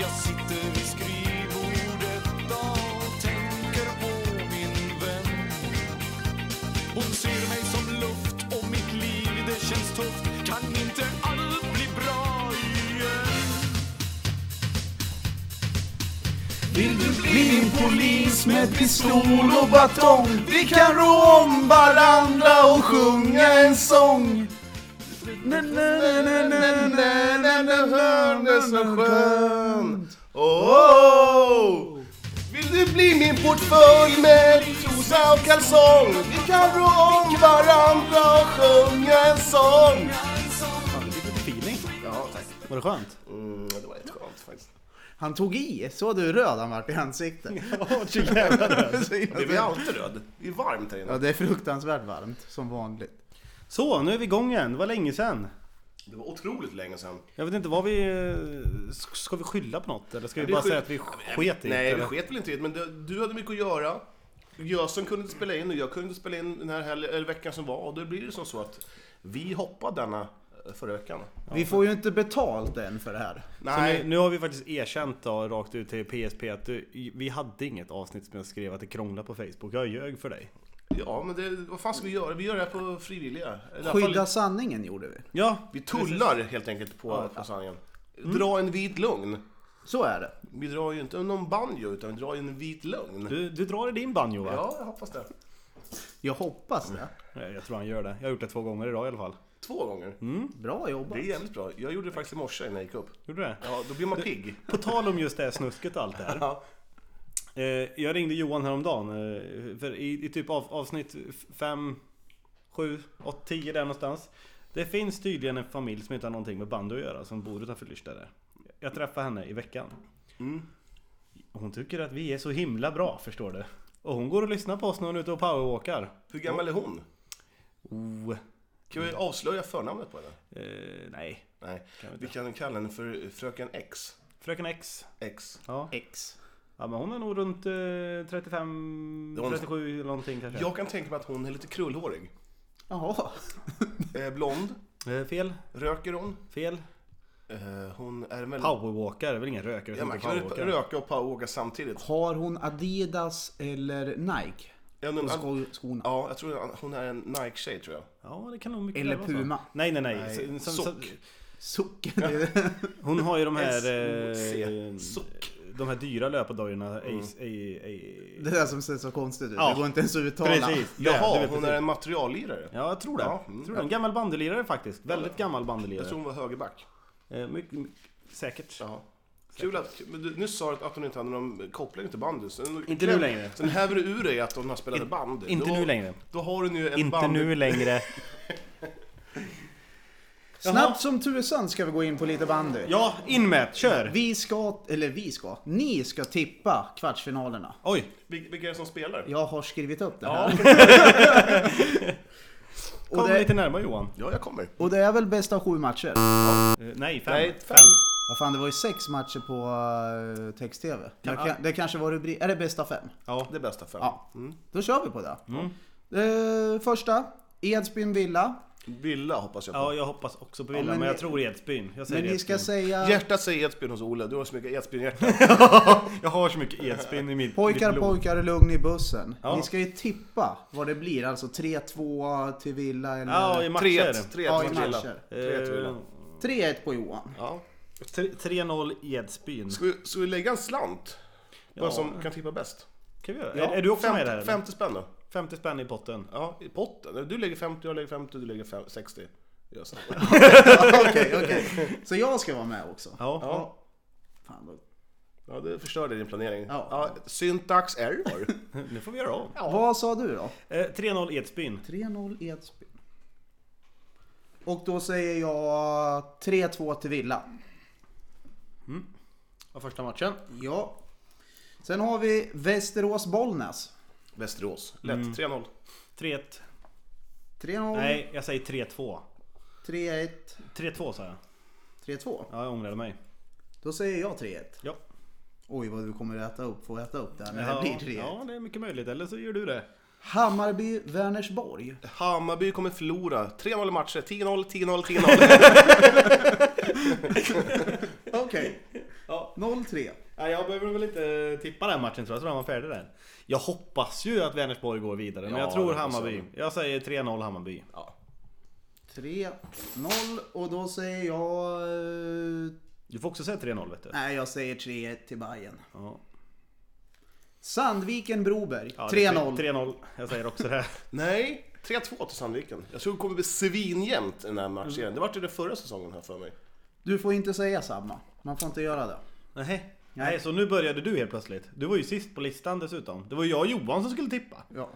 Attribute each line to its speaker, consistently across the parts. Speaker 1: Jag sitter vid skrivbordet och tänker på min vän. Hon ser mig som luft och mitt liv det känns tufft. Kan inte allt bli bra igen?
Speaker 2: Vill du bli en polis med pistol och batong? Vi kan rå om varandra och sjunga en sång.
Speaker 3: Hörde så skönt. Oh! Vill du bli min portfölj med trosa och kalsong? Vi kan rå om varandra och sjunga en sång.
Speaker 2: Feeling.
Speaker 3: Ja, tack.
Speaker 2: Var det skönt?
Speaker 3: Mm, det var rätt skönt faktiskt.
Speaker 4: Han tog i, så du hur röd han vart i ansiktet?
Speaker 2: Ja, så jävla röd.
Speaker 3: Det blir alltid röd. Det är varmt här
Speaker 4: Ja,
Speaker 3: inne.
Speaker 4: det är fruktansvärt varmt som vanligt.
Speaker 2: Så, nu är vi igång igen. Det var länge sedan.
Speaker 3: Det var otroligt länge sedan.
Speaker 2: Jag vet inte vad vi... eh, s- Ska vi skylla på något? Eller ska vi
Speaker 3: vi
Speaker 2: bara
Speaker 3: skyll-
Speaker 2: säga att vi
Speaker 3: Äh,
Speaker 2: sket i det,
Speaker 3: Nej, vi
Speaker 2: eller?
Speaker 3: sket väl inte i det, men du, du hade mycket att göra. Jag som kunde inte spela in och jag kunde inte spela in den här hel- eller veckan som var och då blir det som så att vi hoppade denna eh, förra veckan.
Speaker 4: Vi får ju inte betalt än för det här.
Speaker 3: Nej,
Speaker 2: Så nu, nu har vi faktiskt erkänt då, rakt ut till PSP att du, vi hade inget avsnitt som jag skrev att det krånglade på Facebook. Jag ljög för dig.
Speaker 3: ja men det, vad fan ska vi göra? Vi gör det här på frivilliga. I alla fall-
Speaker 4: Skydda sanningen gjorde vi.
Speaker 2: Ja,
Speaker 3: Vi tullar helt enkelt på, på sanningen. Dra en vit lögn.
Speaker 4: Så är det.
Speaker 3: Vi drar ju inte någon banjo utan vi drar ju en vit lögn.
Speaker 2: du, du drar i din banjo va?
Speaker 3: Ja, jag hoppas det.
Speaker 4: Jag hoppas det.
Speaker 2: Nej, Jag tror han gör det. Jag har gjort det två gånger idag i alla fall.
Speaker 3: Två gånger.
Speaker 4: Bra jobbat.
Speaker 3: Det är jävligt bra. Jag gjorde det faktiskt i morse innan jag gick upp.
Speaker 2: Gjorde du det?
Speaker 3: Ja, då blir man pigg.
Speaker 2: På tal om just det här snusket och allt det här.
Speaker 3: Ja.
Speaker 2: Eh, jag ringde Johan häromdagen. Eh, för i, i typ av, avsnitt 5, 7, 8, 10 där någonstans. Det finns tydligen en familj som inte har någonting med bandy att göra som bor utanför Lyrsta där. Jag träffade henne i veckan.
Speaker 3: Mm.
Speaker 2: Hon tycker att vi är så himla bra förstår du. Och hon går och lyssnar på oss när hon är ute och powerwalkar.
Speaker 3: Hur gammal är hon?
Speaker 2: Oh,
Speaker 3: Kan vi avslöja förnamnet på henne?
Speaker 2: eh, nej.
Speaker 3: Nej, vi kan kalla henne för eh, Fröken X.
Speaker 2: Fröken X.
Speaker 3: X.
Speaker 2: Ja.
Speaker 4: X.
Speaker 2: ja men hon är nog runt eh, 35,
Speaker 3: Det var-
Speaker 2: 37 eller någonting kanske.
Speaker 3: Jag kan tänka mig att hon är lite krullhårig.
Speaker 4: Jaha.
Speaker 3: Eh, blond.
Speaker 2: Eh, fel.
Speaker 3: Röker hon?
Speaker 2: Fel.
Speaker 3: Eh, hon är väldigt...
Speaker 2: Powerwalkar, det är väl ingen rökare
Speaker 3: Ja,
Speaker 2: som
Speaker 3: man
Speaker 2: inte
Speaker 3: kan väl
Speaker 2: powerwalkar?
Speaker 3: röka och powerwalka samtidigt.
Speaker 4: Har hon Adidas eller Nike?
Speaker 3: Jag
Speaker 4: På
Speaker 3: undrar-
Speaker 4: sko- skorna.
Speaker 3: Ja, jag tror att hon är en Nike-tjej tror jag.
Speaker 2: Ja, det kan nog mycket
Speaker 4: Eller
Speaker 2: väl vara så.
Speaker 4: Puma.
Speaker 2: Nej, nej, nej.
Speaker 3: Nej,
Speaker 2: Så- så-
Speaker 3: sock.
Speaker 4: Sock. Det är-
Speaker 2: hon har ju de här...
Speaker 3: S-O-C.
Speaker 2: eh,
Speaker 3: Sock.
Speaker 2: De här dyra löpardojorna. Ace- A- A-
Speaker 4: Det där som ser så konstigt ut.
Speaker 2: Ja.
Speaker 4: Det går inte ens att uttala.
Speaker 2: Precis. det, du
Speaker 3: Jaha,
Speaker 2: vet
Speaker 3: hon
Speaker 2: precis.
Speaker 3: är en materiallirare.
Speaker 2: Ja, jag tror det.
Speaker 3: Ja, mm.
Speaker 2: Jag tror det. En gammal bandylirare faktiskt. Väldigt gammal bandylirare.
Speaker 3: Jag tror hon var högerback.
Speaker 2: Eh, mycket, mycket, säkert.
Speaker 3: Jaha. Kul att, men du, nyss sa du att hon inte hade någon koppling till bandy. Sen,
Speaker 2: Inte nu längre.
Speaker 3: Sen häver du ur dig att hon har spelat bandy.
Speaker 2: Inte
Speaker 3: då,
Speaker 2: nu längre.
Speaker 3: Då har hon ju en
Speaker 2: Inte
Speaker 3: bandy...
Speaker 2: nu längre.
Speaker 4: Snabbt som tusan ska vi gå in på lite bandy.
Speaker 2: Ja, in med Kör!
Speaker 4: Vi ska, eller vi ska, ni ska tippa kvartsfinalerna.
Speaker 2: Oj!
Speaker 3: Vil- Vilka är det som spelar?
Speaker 4: Jag har skrivit upp det
Speaker 3: Ja,
Speaker 4: här.
Speaker 2: Kom
Speaker 4: Och det,
Speaker 2: lite närmare Johan.
Speaker 3: ja, jag kommer.
Speaker 4: och det är väl bäst av sju matcher?
Speaker 2: Eh, nej, fem.
Speaker 3: Nej, fem.
Speaker 4: Vad fan, det var ju sex matcher på eh, text-tv. Jag kan, det kanske var rubrik... Är det bästa fem?
Speaker 2: Ja.
Speaker 3: Det är bästa fem.
Speaker 4: Ja.
Speaker 2: Mm.
Speaker 4: Då kör vi på det. Eh, första, Edsbyn-Villa.
Speaker 3: Villa hoppas jag på.
Speaker 2: ja, jag hoppas också på Villa,
Speaker 4: men
Speaker 2: men jag
Speaker 4: ni-
Speaker 2: tror Edsbyn. Jag säger
Speaker 4: Men ni ska
Speaker 2: Edsbyn.
Speaker 4: säga...
Speaker 3: Hjärtat säger Edsbyn hos Ola. Du har så mycket Edsbyn-hjärta.
Speaker 2: Jag har så mycket Edsbyn i mitt
Speaker 4: Pojkar,
Speaker 2: mitt blod.
Speaker 4: pojkar, lugn i bussen.
Speaker 2: Ja.
Speaker 4: Ni ska ju tippa vad det blir. Alltså 3-2 till Villa eller...
Speaker 2: Ja, i Eh, matcher.
Speaker 3: 3-1. 3-1
Speaker 4: Ja, i
Speaker 3: till Villa.
Speaker 4: matcher.
Speaker 3: 3-1 till Villa.
Speaker 4: 3-1 på Johan.
Speaker 3: Ja.
Speaker 2: Tre- 3-0 Edsbyn.
Speaker 3: Ska vi, ska vi lägga en slant? På
Speaker 2: Ja.
Speaker 3: en som kan tippa bäst?
Speaker 2: Kan vi göra?
Speaker 3: Ja,
Speaker 2: Är, är du också
Speaker 3: 50,
Speaker 2: med där? eller?
Speaker 3: 50 spänn då.
Speaker 2: 50 spänn i potten.
Speaker 3: Ja, i potten. Du lägger 50, jag lägger 50, du lägger fem- 60. Just.
Speaker 4: Okej, okej. Så jag ska vara med också.
Speaker 2: Ja.
Speaker 3: Ja.
Speaker 4: Fan, då-
Speaker 3: ja, det förstörde din planering.
Speaker 4: Ja.
Speaker 3: syntax error.
Speaker 2: Nu får vi göra om.
Speaker 4: Vad sa du då?
Speaker 2: Eh, 3-0 Edsbyn.
Speaker 4: 3-0 Edsbyn. Och då säger jag 3-2 till Villa.
Speaker 2: Var Mm. första matchen.
Speaker 4: Ja. Sen har vi Västerås-Bollnäs.
Speaker 3: Västerås. Lätt. 3-0.
Speaker 2: 3-1.
Speaker 4: 3-0,
Speaker 2: Nej, jag säger 3-2.
Speaker 4: 3-1,
Speaker 2: 3-2 sa jag.
Speaker 4: 3-2.
Speaker 2: Ja, jag ångrade mig.
Speaker 4: Då säger jag 3-1.
Speaker 2: Ja.
Speaker 4: Oj vad du kommer att äta upp, få äta upp det här när
Speaker 2: ja,
Speaker 4: det blir 3
Speaker 2: Ja, det är mycket möjligt. Eller så gör du det.
Speaker 4: Hammarby-Vänersborg.
Speaker 3: Hammarby kommer förlora. 3-0 i matcher. 10-0, 10-0, 10-0.
Speaker 4: Okej.
Speaker 2: Ja. Ja.
Speaker 4: 0-3.
Speaker 2: Nej, jag behöver väl inte tippa den matchen tror jag, jag tror den var färdig där. Jag hoppas ju att Vänersborg går vidare, men
Speaker 3: Ja,
Speaker 2: jag tror
Speaker 3: det hoppas
Speaker 2: Hammarby. Jag säger 3-0 Hammarby.
Speaker 3: Ja.
Speaker 4: 3-0 och då säger jag... eh,
Speaker 2: Du får också säga 3-0 vet du.
Speaker 4: Nej, jag säger 3-1 till Bayern.
Speaker 2: Ja.
Speaker 4: Sandviken-Broberg.
Speaker 2: Ja, det är
Speaker 4: 3-0.
Speaker 2: 3-0. Jag säger också det.
Speaker 3: Nej, 3-2 till Sandviken. Jag tror det kommer bli svinjämnt den här
Speaker 4: Mm.
Speaker 3: matchen. Det var ju den förra säsongen här för mig.
Speaker 4: Du får inte säga samma. Man får inte göra det.
Speaker 2: Nej. Nej, så nu började du helt plötsligt. Du var ju sist på listan dessutom. Det var jag och Johan som skulle tippa.
Speaker 4: Ja.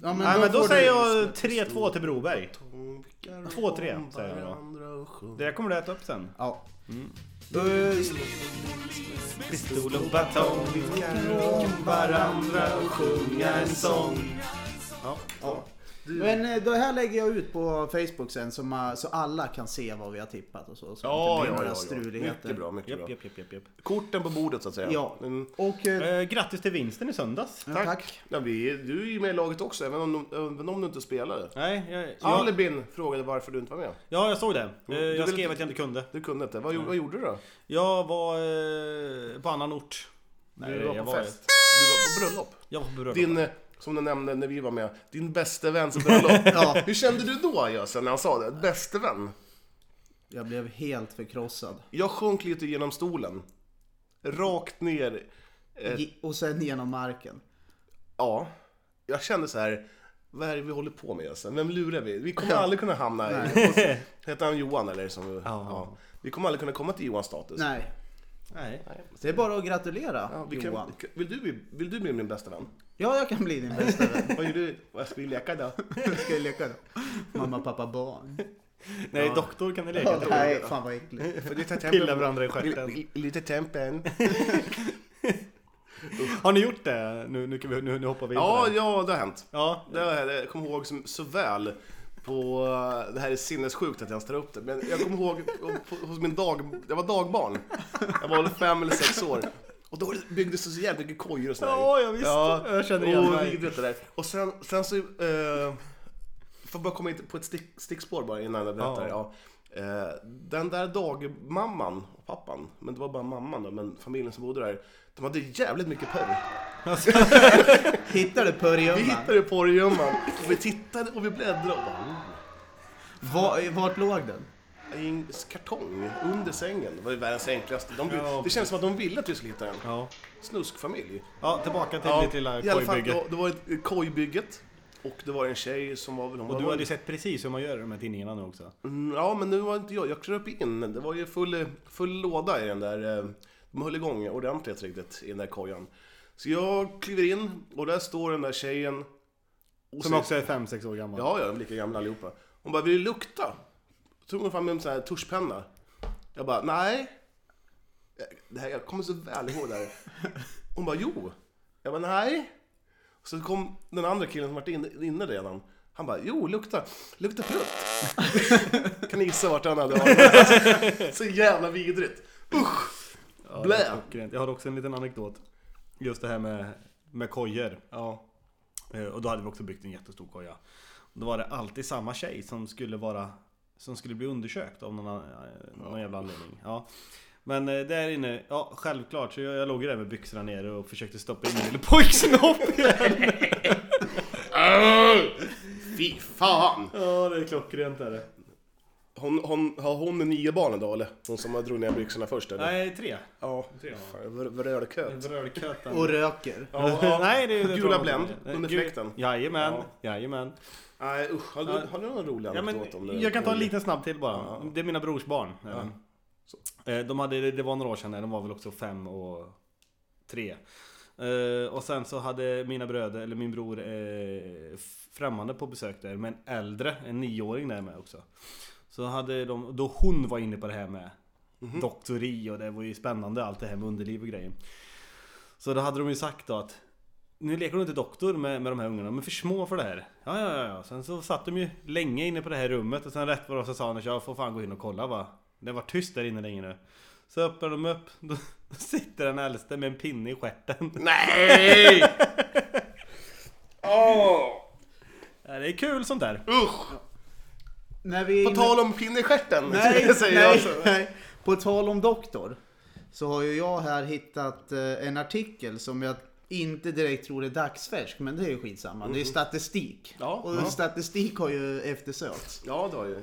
Speaker 4: Ja, men
Speaker 2: Nej men då
Speaker 4: får du-
Speaker 2: säger jag 3-2 till Broberg. 2-3
Speaker 3: om
Speaker 2: säger jag då.
Speaker 3: varandra och sjunger.
Speaker 2: Det där kommer du äta upp sen.
Speaker 4: Ja. Eh,
Speaker 2: Pistol och batong, vi ska om varandra och sjunga en sång. Ja.
Speaker 4: ja. Men eh, det här lägger jag ut på Facebook sen så, ma- så alla kan se vad vi har tippat och så. så
Speaker 3: Ja,
Speaker 4: det inte blir
Speaker 3: ja,
Speaker 4: några
Speaker 3: ja, ja.
Speaker 4: struligheter.
Speaker 3: Mycket bra, mycket
Speaker 2: Japp,
Speaker 3: bra.
Speaker 2: japp, japp, japp, japp.
Speaker 3: Korten på bordet så att säga.
Speaker 4: Ja.
Speaker 3: Mm.
Speaker 4: Och... eh,
Speaker 2: Eh, grattis till vinsten i söndags.
Speaker 4: ja,
Speaker 3: Tack.
Speaker 4: tack.
Speaker 3: Ja, vi, du är ju med i laget också, även om, även om du inte spelade.
Speaker 2: Nej, jag, jag,
Speaker 3: Albin frågade varför du inte var med.
Speaker 2: ja, jag såg det. Eh,
Speaker 3: Du
Speaker 2: Jag
Speaker 3: vill-
Speaker 2: skrev att jag inte kunde.
Speaker 3: Du kunde inte. Vad, gjorde- vad gjorde du då?
Speaker 2: Jag var eh, på annan ort.
Speaker 3: du var på
Speaker 2: jag
Speaker 3: fest. Du var på bröllop.
Speaker 2: Jag var på bröllop.
Speaker 3: Din, eh, som du nämnde när vi var med, din bäste väns bröllop.
Speaker 4: Ja.
Speaker 3: Hur kände du då Jösse, när han sa det? Bäste vän?
Speaker 4: Jag blev helt förkrossad.
Speaker 3: Jag sjönk lite genom stolen. Rakt ner.
Speaker 4: Ge- Och sen genom marken.
Speaker 3: Ja. Jag kände så här. Vad är det vi håller på med Jösse? Vem lurar vi? Vi kommer aldrig kunna hamna i... Hette han Johan eller? Som, ja. Vi kommer aldrig kunna komma till Johans status.
Speaker 4: Nej.
Speaker 2: Nej.
Speaker 4: Det är bara att gratulera
Speaker 3: Ja, vi
Speaker 4: Johan.
Speaker 3: kan, vill, du, bli- vill du bli min bästa vän?
Speaker 4: Ja, jag kan bli din bästa vän.
Speaker 3: Vad gör du? Vad ska vi leka då?
Speaker 4: Ska vi leka då? Mamma, pappa, barn.
Speaker 2: Nej, doktor kan ni leka
Speaker 4: Ja,
Speaker 2: till.
Speaker 4: nej, fan vad äckligt.
Speaker 3: För lite
Speaker 2: Pilla varandra i stjärten.
Speaker 3: Lite tempen.
Speaker 2: Har ni gjort det? Nu, nu, kan vi, nu, nu hoppar vi in på
Speaker 3: Ja,
Speaker 2: det.
Speaker 3: ja, det har hänt.
Speaker 2: Ja.
Speaker 3: Det har, jag- jag kommer ihåg som, så väl på, det här är sinnessjukt att jag ens tar upp det, men jag kommer ihåg på- hos min dag, jag var dagbarn. Jag var väl fem eller sex år. Och då byggdes det så jävla mycket kojor och sådär.
Speaker 2: Ja, ja, visst. Jag känner igen
Speaker 3: och,
Speaker 2: mig.
Speaker 3: vi- vet det där. Och sen, sen så, eh, får bara komma in på ett stick, stickspår bara innan jag berättar. Ja.
Speaker 2: Ja.
Speaker 3: Eh, den där dagmamman och pappan, men det var bara mamman då, men familjen som bodde där, de hade jävligt mycket purr.
Speaker 4: Hittade
Speaker 3: Vi
Speaker 4: purjolökar?
Speaker 3: hittade porrgömman och vi tittade och vi bläddrade och bara, "Oh."
Speaker 4: Va- Vart låg den?
Speaker 3: i en kartong under sängen. Det var ju världens enklaste. De,
Speaker 2: Ja.
Speaker 3: det kändes som att de ville att vi skulle hitta en
Speaker 2: Ja.
Speaker 3: snuskfamilj.
Speaker 2: ja, tillbaka till ditt lilla
Speaker 3: i alla fall,
Speaker 2: kojbygge.
Speaker 3: då- Det var ett eh, kojbygget och det var en tjej som var väl... hon
Speaker 2: Och
Speaker 3: var
Speaker 2: du
Speaker 3: väl-
Speaker 2: hade ju sett precis hur man gör i de här tidningarna nu också.
Speaker 3: Mm, Ja, men nu var inte jag. Jag kröp in. Det var ju full, full låda i den där. eh, De höll igång ordentligt riktigt i den där kojan. Så jag kliver in och där står den där tjejen. och
Speaker 2: Som
Speaker 3: säger-
Speaker 2: också är 5-6 år gammal.
Speaker 3: Ja, ja, lika gamla allihopa. Hon bara, vill du lukta? Så tog hon fram en sån här tuschpenna. Jag bara, nej. Det här, jag kommer så väl ihåg det här. Hon bara, jo. Jag bara, nej. Så kom den andra killen som varit inne, inne redan. Han bara, jo, lukta. Lukta prutt. kan ni gissa vart han hade varit? så jävla vidrigt. Usch.
Speaker 2: Ja,
Speaker 3: Blä.
Speaker 2: det är klockrent. Jag har också en liten anekdot. Just det här med, med kojor.
Speaker 3: Ja.
Speaker 2: Eh, Och då hade vi också byggt en jättestor koja. Då var det alltid samma tjej som skulle vara som skulle bli undersökt av någon, an- eh, någon jävla anledning. Ja. Men eh, där inne, ja självklart, så jag, jag låg ju där med byxorna nere och försökte stoppa in min lille pojksnopp i henne.
Speaker 3: Fy fan.
Speaker 2: Ja, det är klockrent är det.
Speaker 3: Hon, hon, har hon nio barn idag eller? Hon som har drog ner byxorna först eller?
Speaker 2: Nej, tre.
Speaker 3: Ja.
Speaker 2: Tre
Speaker 3: Fan, vr- Vrölköt.
Speaker 2: Brödkötan.
Speaker 4: Och röker.
Speaker 3: Ja, ja.
Speaker 2: Nej, det är det
Speaker 3: Gula
Speaker 2: tror jag
Speaker 3: Blend,
Speaker 2: inte. Nej,
Speaker 3: under
Speaker 2: gul-
Speaker 3: fläkten.
Speaker 2: Jajamän,
Speaker 3: Ja.
Speaker 2: jajamän.
Speaker 3: Nej usch, har du,
Speaker 2: Ja.
Speaker 3: har du någon rolig
Speaker 2: Ja, men,
Speaker 3: anekdot om det?
Speaker 2: jag kan ta en liten snabb till bara.
Speaker 3: Ja.
Speaker 2: Det är mina brors barn. även. Eh, De hade, det- det var några år sedan, de var väl också fem och tre. Eh, Och sen så hade mina bröder, eller min bror, eh, främmande på besök där. Men äldre, en nioåring där med också. Så hade de, då hon var inne på det här med
Speaker 3: Mhm.
Speaker 2: doktori och det var ju spännande allt det här med underliv och grejer. Så då hade de ju sagt då att nu leker du inte doktor med, med de här ungarna, de är för små för det här. Ja, ja, ja, ja. Sen så satt de ju länge inne på det här rummet och sen rätt vad det var så sa han att jag får fan gå in och kolla va. Det var tyst där inne länge nu. Så öppnar de upp, då, då sitter den äldste med en pinne i stjärten.
Speaker 3: Nej! Åh!
Speaker 2: Ja, Det är kul sånt där.
Speaker 3: Usch!
Speaker 4: När vi...
Speaker 3: På tal om pinnestjärten,
Speaker 4: Nej,
Speaker 3: säger jag
Speaker 4: nej,
Speaker 3: så.
Speaker 4: nej. På tal om doktor. så har ju jag här hittat eh, en artikel som jag inte direkt tror är dagsfärsk, men det är ju skitsamma. Det är statistik.
Speaker 3: Mm-hmm. Ja,
Speaker 4: och
Speaker 3: ja.
Speaker 4: statistik har ju eftersökts.
Speaker 3: Ja, det har ju.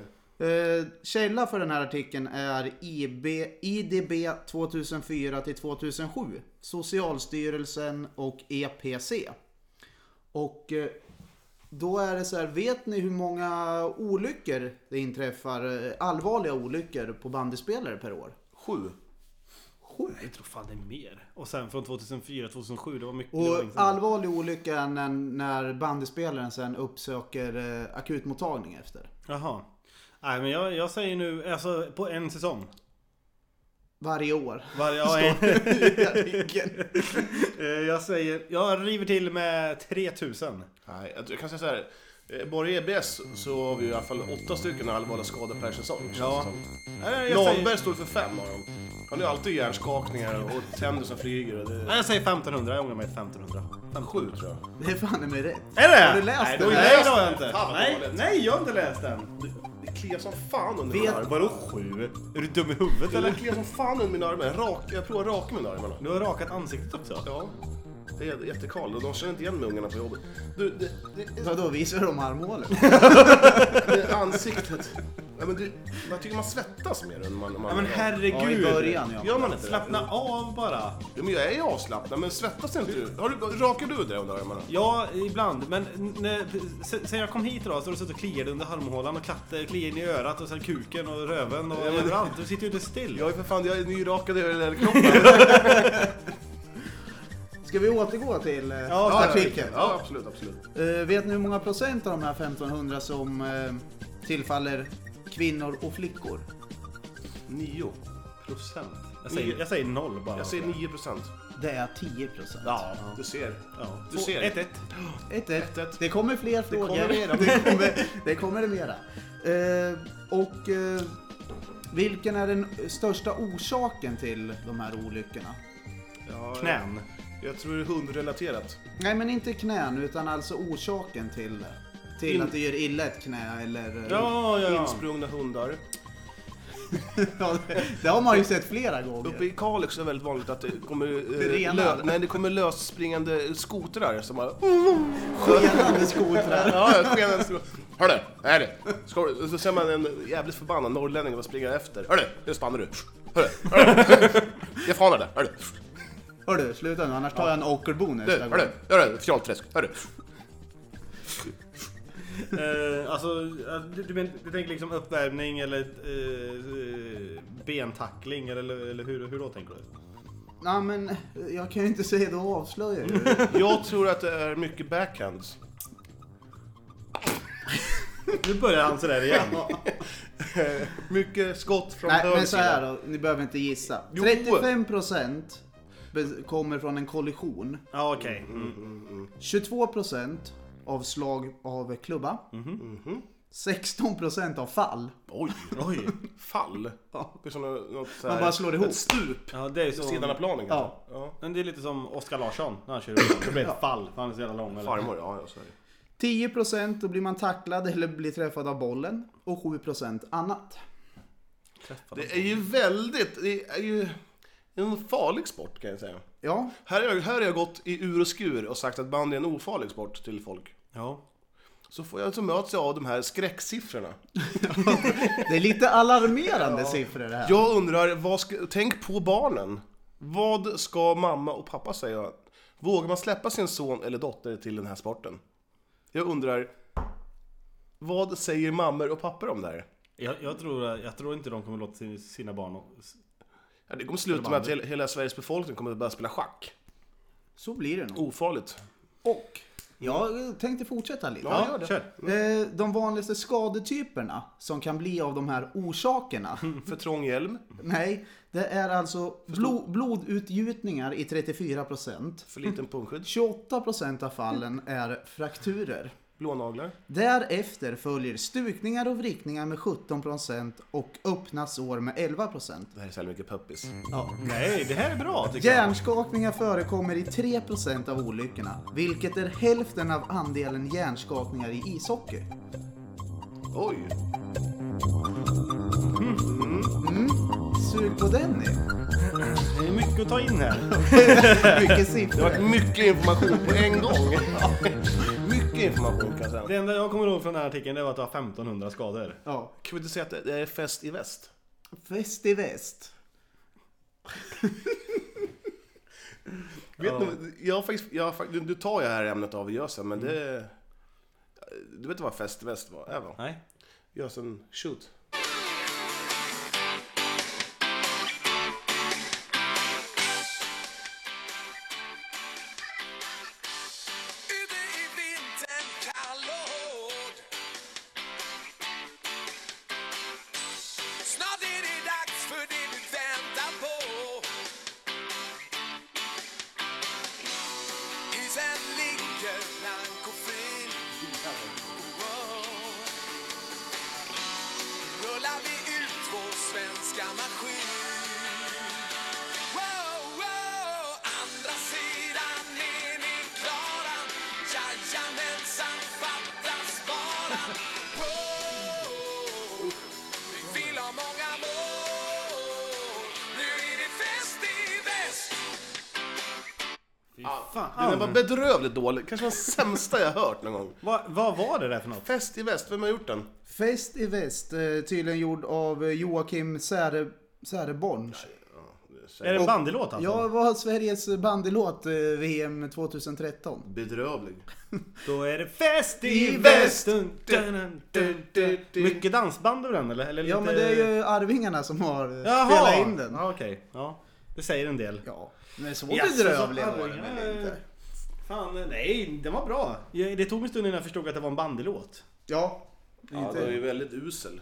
Speaker 4: Eh, källa för den här artikeln är IB, IDB 2004 till 2007, Socialstyrelsen och EPC. Och eh, då är det så här, vet ni hur många olyckor det inträffar, eh, allvarliga olyckor på bandyspelare per år?
Speaker 3: Sju.
Speaker 4: Sju.
Speaker 2: Jag tror fan det är mer. Och sen från 2004, 2007, det var mycket. det var länge
Speaker 4: Och
Speaker 2: sedan.
Speaker 4: allvarlig olycka är när, när bandyspelaren sen uppsöker eh, akutmottagning efter.
Speaker 2: Jaha. Nej men jag, jag säger nu, alltså på en säsong.
Speaker 4: Varje år.
Speaker 2: Varje, ja, en,
Speaker 4: Herregud.
Speaker 2: eh, jag säger, jag river till med 3000.
Speaker 3: Nej, jag, jag kan säga så här. eh, Bara i EBS så har vi i alla fall åtta stycken allvarliga skador per säsong. känns det
Speaker 2: Ja.
Speaker 3: som.
Speaker 2: Nej, Eh, jag, säger,
Speaker 3: Lahlberg står för fem av dem. Han har ju alltid hjärnskakningar och tänder som flyger. Och det...
Speaker 2: nej, jag säger 1500, jag ångrar mig 1500.
Speaker 3: Sju tror jag.
Speaker 4: Det är fan i mig rätt.
Speaker 2: Är det?
Speaker 4: Har du läst
Speaker 2: nej,
Speaker 4: den?
Speaker 2: då-
Speaker 4: Nej,
Speaker 2: Nej,
Speaker 3: läst
Speaker 2: det har jag
Speaker 3: den.
Speaker 2: inte.
Speaker 3: Fan, vad
Speaker 2: nej,
Speaker 3: dåligt.
Speaker 2: nej, jag har inte läst den.
Speaker 3: Det kliar som fan under
Speaker 4: Vet-
Speaker 3: mina armar.
Speaker 2: Vadå sju? Är du dum i huvudet
Speaker 3: Det
Speaker 2: eller?
Speaker 3: kliar som fan under mina armar. Rak, jag provar raka mina armar.
Speaker 2: Du har rakat ansiktet också.
Speaker 3: Ja. Det är jättekall och de känner inte igen mig ungarna på jobbet. Du, det, det,
Speaker 4: Vadå, visar de armhålet?
Speaker 3: det ansiktet. Nej, men du, jag tycker man svettas mer än man... man
Speaker 2: Ja, men herregud.
Speaker 4: Ja, i början ja.
Speaker 3: Gör man inte det?
Speaker 2: Slappna av bara.
Speaker 3: Ja, men jag är ju avslappnad, men svettas inte du? Har du rakar du dig under armarna?
Speaker 2: Ja, ibland. Men n- när, sen- sen jag kom hit idag så har du suttit och kliat under armhålan och klatte, kliat in i örat och sen kuken och röven och
Speaker 3: Ja, men-
Speaker 2: överallt. Du sitter ju inte still.
Speaker 3: Jag är för fan, jag är nyrakad i hela kroppen.
Speaker 4: Ska vi återgå till eh,
Speaker 2: Ja,
Speaker 4: artikeln?
Speaker 3: Ja, absolut, absolut.
Speaker 4: Eh, vet ni hur många procent av de här 1500 som eh, tillfaller kvinnor och flickor?
Speaker 3: Nio.
Speaker 2: Procent. Jag säger,
Speaker 3: Nio.
Speaker 2: jag säger noll bara.
Speaker 3: Jag säger 9 procent.
Speaker 4: Det är 10 procent.
Speaker 3: Ja, du ser.
Speaker 2: Ja.
Speaker 3: Du
Speaker 2: Två-
Speaker 3: ser.
Speaker 2: Ett, ett.
Speaker 3: Ett,
Speaker 4: Ett, ett.
Speaker 3: ett.
Speaker 4: Det kommer fler frågor.
Speaker 3: kommer mera.
Speaker 4: det, kommer, det kommer det mera. Eh, och eh, vilken är den största orsaken till de här olyckorna?
Speaker 3: Ja,
Speaker 2: Knän.
Speaker 3: Jag, jag tror det är hundrelaterat.
Speaker 4: Nej, men inte knän, utan alltså orsaken till, till
Speaker 3: In-
Speaker 4: att det gör illa ett knä eller... eh,
Speaker 2: Ja, ja, ja.
Speaker 3: Insprungna hundar.
Speaker 4: ja, det, det har man ju sett flera gånger.
Speaker 3: Uppe i Kalix är det väldigt vanligt att det kommer, eh,
Speaker 4: Renar.
Speaker 3: lö- nej, det kommer lösspringande skotrar som bara...
Speaker 4: Skenande skotrar.
Speaker 3: Ja, skenande skotrar. Hörru, här är det. Ska du- Så ser man en jävligt förbannad norrlänning och springer efter. Hörru, nu stannar du. Hörru, hörru. Jag fanar dig. Hörru,
Speaker 4: Hör du, sluta nu annars tar jag en ockerbo
Speaker 3: du,
Speaker 4: nästa gång.
Speaker 3: hörru, hörru, fjollträsk. Hörru.
Speaker 2: Eh, alltså, eh, du, du, men, du tänker liksom uppvärmning eller eh, eh, bentackling eller, eller hur, hur då tänker du?
Speaker 4: Nej men eh, jag kan ju inte säga det, då avslöjar jag ju.
Speaker 3: Jag tror att det är mycket backhands.
Speaker 2: Nu börjar han sådär igen.
Speaker 3: Mycket skott från
Speaker 4: Nej
Speaker 3: höger
Speaker 4: men så här
Speaker 3: sida.
Speaker 4: då, ni behöver inte gissa.
Speaker 3: Jo.
Speaker 4: 35% be- kommer från en kollision.
Speaker 2: Ja, okej. Mm.
Speaker 4: 22% av slag av klubba.
Speaker 3: Mhm.
Speaker 4: 16% av fall.
Speaker 3: Oj,
Speaker 2: Oj.
Speaker 3: fall.
Speaker 4: Ja.
Speaker 3: Det är som något, något så
Speaker 4: Man
Speaker 3: här-
Speaker 4: bara slår ihop.
Speaker 3: Ett stup.
Speaker 2: Ja, det är
Speaker 3: På sidan av
Speaker 2: så.
Speaker 3: planen kanske?
Speaker 4: Ja.
Speaker 3: Ja.
Speaker 2: Men det är lite som Oskar Larsson när han kör upp. Det blir ett fall för han är så jävla lång. Eller?
Speaker 3: Farmor, ja, ja så är det.
Speaker 4: 10% då blir man tacklad eller blir träffad av bollen. Och 7% annat.
Speaker 3: Det är ju väldigt, det är ju en farlig sport kan jag säga.
Speaker 4: Ja,
Speaker 3: Här har jag, här har jag gått i ur och skur och sagt att bandy är en ofarlig sport till folk.
Speaker 2: Ja.
Speaker 3: Så får jag så möts jag av de här skräcksiffrorna.
Speaker 4: det är lite alarmerande siffror det här.
Speaker 3: Jag undrar, vad ska, tänk på barnen. Vad ska mamma och pappa säga? Vågar man släppa sin son eller dotter till den här sporten? Jag undrar, vad säger mammor och pappor om det här?
Speaker 2: Jag, jag, tror, jag tror inte de kommer låta sin- sina barn... och-
Speaker 3: Ja, Det kommer sluta med att hela- hela Sveriges befolkning kommer att börja spela schack.
Speaker 4: Så blir det nog.
Speaker 3: Ofarligt.
Speaker 4: Och jag tänkte fortsätta lite.
Speaker 3: Ja, gör det.
Speaker 2: kör.
Speaker 4: Eh, De vanligaste skadetyperna som kan bli av de här orsakerna.
Speaker 3: För trång hjälm,
Speaker 4: Nej, det är alltså blod, blodutgjutningar i 34%.
Speaker 3: för liten pungskydd,
Speaker 4: 28% av fallen är frakturer.
Speaker 3: blånaglar.
Speaker 4: Därefter följer stukningar och vrickningar med 17% och öppna sår med 11%.
Speaker 3: Det här är så jävla mycket puppis.
Speaker 4: Ja.
Speaker 2: Nej, det här är bra tycker jag.
Speaker 4: Hjärnskakningar förekommer i 3% av olyckorna, vilket är hälften av andelen hjärnskakningar i ishockey.
Speaker 3: Oj!
Speaker 4: Sug på den nu.
Speaker 2: Det är mycket att ta in här.
Speaker 4: Mycket
Speaker 3: Det
Speaker 4: siffror.
Speaker 3: har varit mycket information på en gång. mycket information Kassan.
Speaker 2: Det enda jag kommer ihåg från den här artikeln det var att det var 1500 skador.
Speaker 4: Ja.
Speaker 3: Kan vi inte säga att det är fest i väst?
Speaker 4: Fest i väst.
Speaker 3: Vet ni, jag har faktiskt, jag har, fakt- nu- nu tar jag det här ämnet av Gösen, men det... Du vet vad fest i väst var? Är va?
Speaker 2: Nej.
Speaker 3: Gösen, shoot.
Speaker 1: Ute i vintern kall och hård Snart är det dags för det du väntar på Isen ligger blank och fin Wow. Rullar vi ut vår svenska maskin Wow, wow, andra sidan är ni klara Jajamensan, fattas bara Wow, vi vill ha många mål Nu är det fest i väst
Speaker 3: Den där var bedrövligt dålig. Kanske den sämsta jag hört någon gång.
Speaker 2: Va, vad var det där för något?
Speaker 3: Fest i väst, vem har gjort den?
Speaker 4: Fest i väst, eh, tydligen gjord av eh, Joakim Säre, Säreborn.
Speaker 2: Är det en bandylåt alltså?
Speaker 4: Ja, var Sveriges bandylåt eh, VM 2013.
Speaker 3: Bedrövlig.
Speaker 2: Då är det fest i
Speaker 4: I
Speaker 2: väst!
Speaker 4: väst!
Speaker 2: Dun, dun, dun, dun, dun. Mycket dansband över den eller? eller
Speaker 4: Ja,
Speaker 2: lite...
Speaker 4: men det är ju Arvingarna som har eh,
Speaker 2: Jaha!
Speaker 4: spelat in den.
Speaker 2: Ja, okej. Ja. Det säger en del.
Speaker 4: Ja, men så
Speaker 2: Jaså,
Speaker 4: bedrövlig
Speaker 2: så
Speaker 4: var den
Speaker 2: Arvingarna
Speaker 4: väl
Speaker 2: är-
Speaker 4: inte?
Speaker 2: Fan, nej, den var bra. Ja, Det tog en stund innan jag förstod att det var en bandylåt.
Speaker 4: Ja,
Speaker 3: Ja,
Speaker 4: inte.
Speaker 3: den är ju väldigt usel.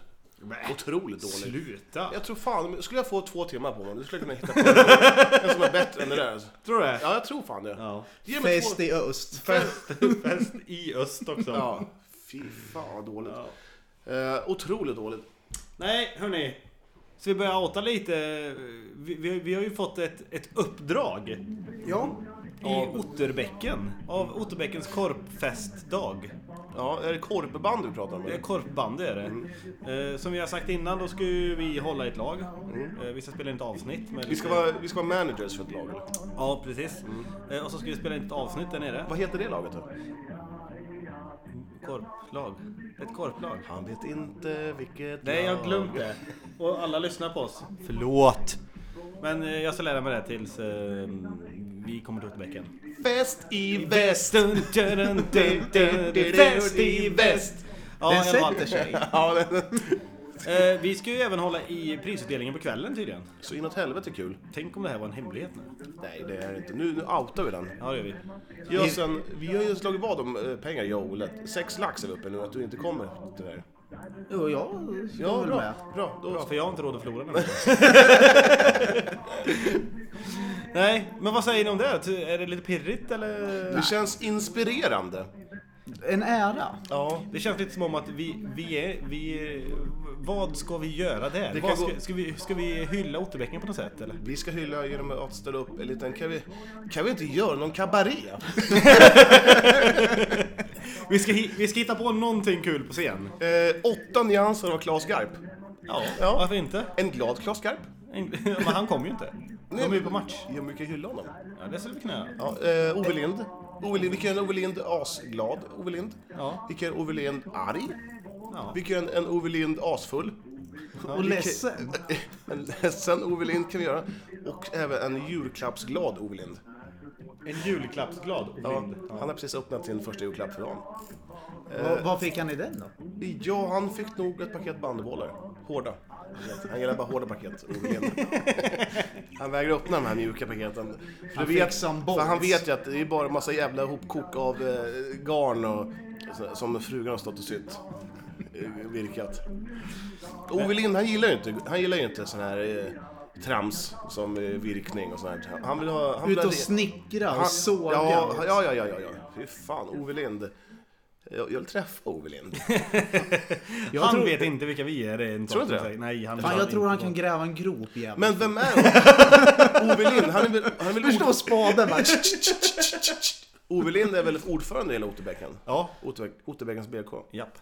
Speaker 3: Otroligt dålig.
Speaker 2: Sluta!
Speaker 3: Jag tror fan, skulle jag få två timmar på mig, då skulle jag kunna hitta på en som är bättre än det där.
Speaker 2: Tror du det?
Speaker 3: Ja, jag tror fan det.
Speaker 2: Ja.
Speaker 3: Ge mig
Speaker 4: Fest
Speaker 3: två...
Speaker 4: i öst.
Speaker 2: Fest, fest i öst också.
Speaker 3: Ja, fy fan vad dåligt.
Speaker 2: Ja.
Speaker 3: Eh, otroligt dåligt.
Speaker 2: Nej, hörni. Ska vi börja outa lite? Vi, vi, vi har ju fått ett, ett uppdrag
Speaker 4: Ja,
Speaker 2: i Otterbäcken. Av Otterbäckens korpfestdag.
Speaker 3: Ja, är det korpband du pratar om?
Speaker 2: Det är
Speaker 3: eller?
Speaker 2: korpband det är det. Eh, som vi har sagt innan, då ska ju vi hålla ett lag. Eh, vi ska spela in ett avsnitt. Med
Speaker 3: Vi ska vara, vi ska vara managers för ett lag. eller?
Speaker 2: Ja, precis. Eh, och så ska vi spela in ett avsnitt där nere.
Speaker 3: Vad heter det laget då?
Speaker 2: Korplag. Ett korplag.
Speaker 3: Han vet inte vilket
Speaker 2: Nej, jag har glömt det. Och alla lyssnar på oss. Förlåt! Men eh, jag ska lära mig det här tills eh, vi kommer till Otterbäcken.
Speaker 3: Fest i väst.
Speaker 2: Väst, dun, dun, dun, dun, dun, dun, väst i väst! Ja,
Speaker 4: den
Speaker 2: i alla fall.
Speaker 4: sätter sig.
Speaker 3: Ja, men-
Speaker 2: Eh, vi ska ju även hålla i prisutdelningen på kvällen tydligen.
Speaker 3: Så inåt helvete kul.
Speaker 2: Tänk om det här var en hemlighet nu.
Speaker 3: Nej, det är det inte. Nu, nu outar vi den.
Speaker 2: Ja, det gör vi.
Speaker 3: Gösen, vi har ju slagit vad om eh, pengar, jag och Olle. Sex lax är vi uppe nu, att du inte kommer tyvärr.
Speaker 4: Jo, jag ska
Speaker 3: Ja,
Speaker 4: väl med.
Speaker 3: bra. Bra, då
Speaker 2: Bra, för jag har inte råd att förlora den. Nej, men vad säger ni om det? Ty- Är det lite pirrigt eller?
Speaker 3: Det känns inspirerande.
Speaker 4: En ära.
Speaker 3: Ja.
Speaker 2: Det känns lite som om att vi, vi är, vi, vad ska vi göra där?
Speaker 3: Det kan
Speaker 2: Vad ska,
Speaker 3: gå-
Speaker 2: ska, vi, ska vi hylla Otterbäcken på något sätt eller?
Speaker 3: Vi ska hylla genom att ställa upp en liten... Kan vi, kan vi inte göra någon kabaré?
Speaker 2: Vi ska, hi- vi ska hitta på någonting kul på scen.
Speaker 3: Eh, åtta nyanser av Klas Garp.
Speaker 2: Ja,
Speaker 3: Ja.
Speaker 2: varför inte?
Speaker 3: En glad Klas Garp.
Speaker 2: En- Men han kommer ju inte. De är ju på match.
Speaker 3: Ja, men vi kan hylla honom.
Speaker 2: Ja, det skulle vi kunna göra.
Speaker 3: Ja, eh, Ove Lind. Ove Lind. Vi kan göra en Ove Lind asglad Ove Lind.
Speaker 2: Ja.
Speaker 3: Vi kan göra en Ove Lind arg.
Speaker 2: Ja.
Speaker 3: Vi kan göra en, en Ove Lind asfull.
Speaker 4: Och ledsen.
Speaker 3: En ledsen Ove Lind kan vi göra. Och även en julklappsglad Ove Lind.
Speaker 2: En julklappsglad Ove
Speaker 3: Ja,
Speaker 2: Lind.
Speaker 3: han har precis öppnat sin första julklapp för dagen.
Speaker 4: Vad- Vad fick han i den då?
Speaker 3: Ja, han fick nog ett paket bandybollar. Hårda. Han gillar bara hårda paket. Ove Lind. Han vägrar öppna de här mjuka paketen. För
Speaker 4: Han
Speaker 3: du vet-
Speaker 4: fick som
Speaker 3: för
Speaker 4: bolls.
Speaker 3: han vet ju att det är bara massa jävla hopkok av eh, garn och, så- som frugan har stått och sytt. Eh, Virkat. Ove Lind, han gillar ju inte, han gillar ju inte sån här eh, trams som eh, virkning och sånt här. Han vill ha... Han vill
Speaker 4: Ut
Speaker 3: ha
Speaker 4: och
Speaker 3: re-
Speaker 4: snickra och
Speaker 3: han-
Speaker 4: såga.
Speaker 3: Ja, ja, ja, ja, ja, ja. Fy fan, Ove Lind. Jag, jag vill träffa Ove Lind.
Speaker 2: han
Speaker 4: tror-
Speaker 2: vet inte vilka vi är. det är en
Speaker 3: Tror du
Speaker 2: sak
Speaker 3: inte
Speaker 2: som
Speaker 3: det?
Speaker 2: säger- Nej, han
Speaker 4: Fan, jag tror
Speaker 2: inte.
Speaker 4: han kan gräva en grop jävlar.
Speaker 3: Men vem är Ove Lind? Han är väl, han är väl
Speaker 4: Förstå
Speaker 3: ord...
Speaker 4: spaden va?
Speaker 3: Ove Lind är väl ordförande i hela Otterbäcken?
Speaker 2: Ja.
Speaker 3: Otterbäck- Otterbäckens BK.
Speaker 2: Japp.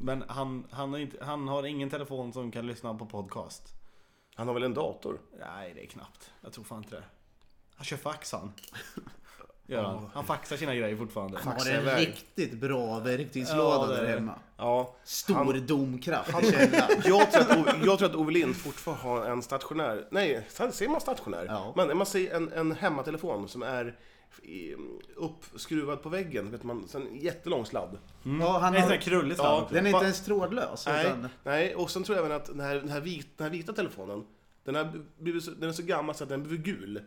Speaker 2: Men han, han, har inte, han har ingen telefon som kan lyssna på podcast.
Speaker 3: Han har väl en dator?
Speaker 2: Nej, det är knappt. Jag tror fan inte det. Han kör fax han. Gör han. Han faxar sina grejer fortfarande.
Speaker 4: Han har
Speaker 3: Faxa
Speaker 4: en
Speaker 3: iväg.
Speaker 4: riktigt bra verktygslåda
Speaker 2: Ja, det
Speaker 4: där
Speaker 2: är det.
Speaker 4: hemma.
Speaker 3: Ja.
Speaker 4: Stor domkraft i källaren.
Speaker 3: Jag tror, att, O- jag tror att Ove Lind fortfarande har en stationär, nej, sa- säger man stationär?
Speaker 4: Ja.
Speaker 3: Man, man säger en, en hemmatelefon som är i- uppskruvad på väggen, vet man, sen en jättelång sladd.
Speaker 4: Ja, han
Speaker 2: Det är sån
Speaker 4: har,
Speaker 2: här krullig
Speaker 3: Ja.
Speaker 2: slant.
Speaker 4: den är inte ens trådlös.
Speaker 3: Nej,
Speaker 4: Utan,
Speaker 3: nej, och sen tror jag även att den här, den här, vit, den här vita telefonen, den, har blivit så, den är så gammal så att den blir gul.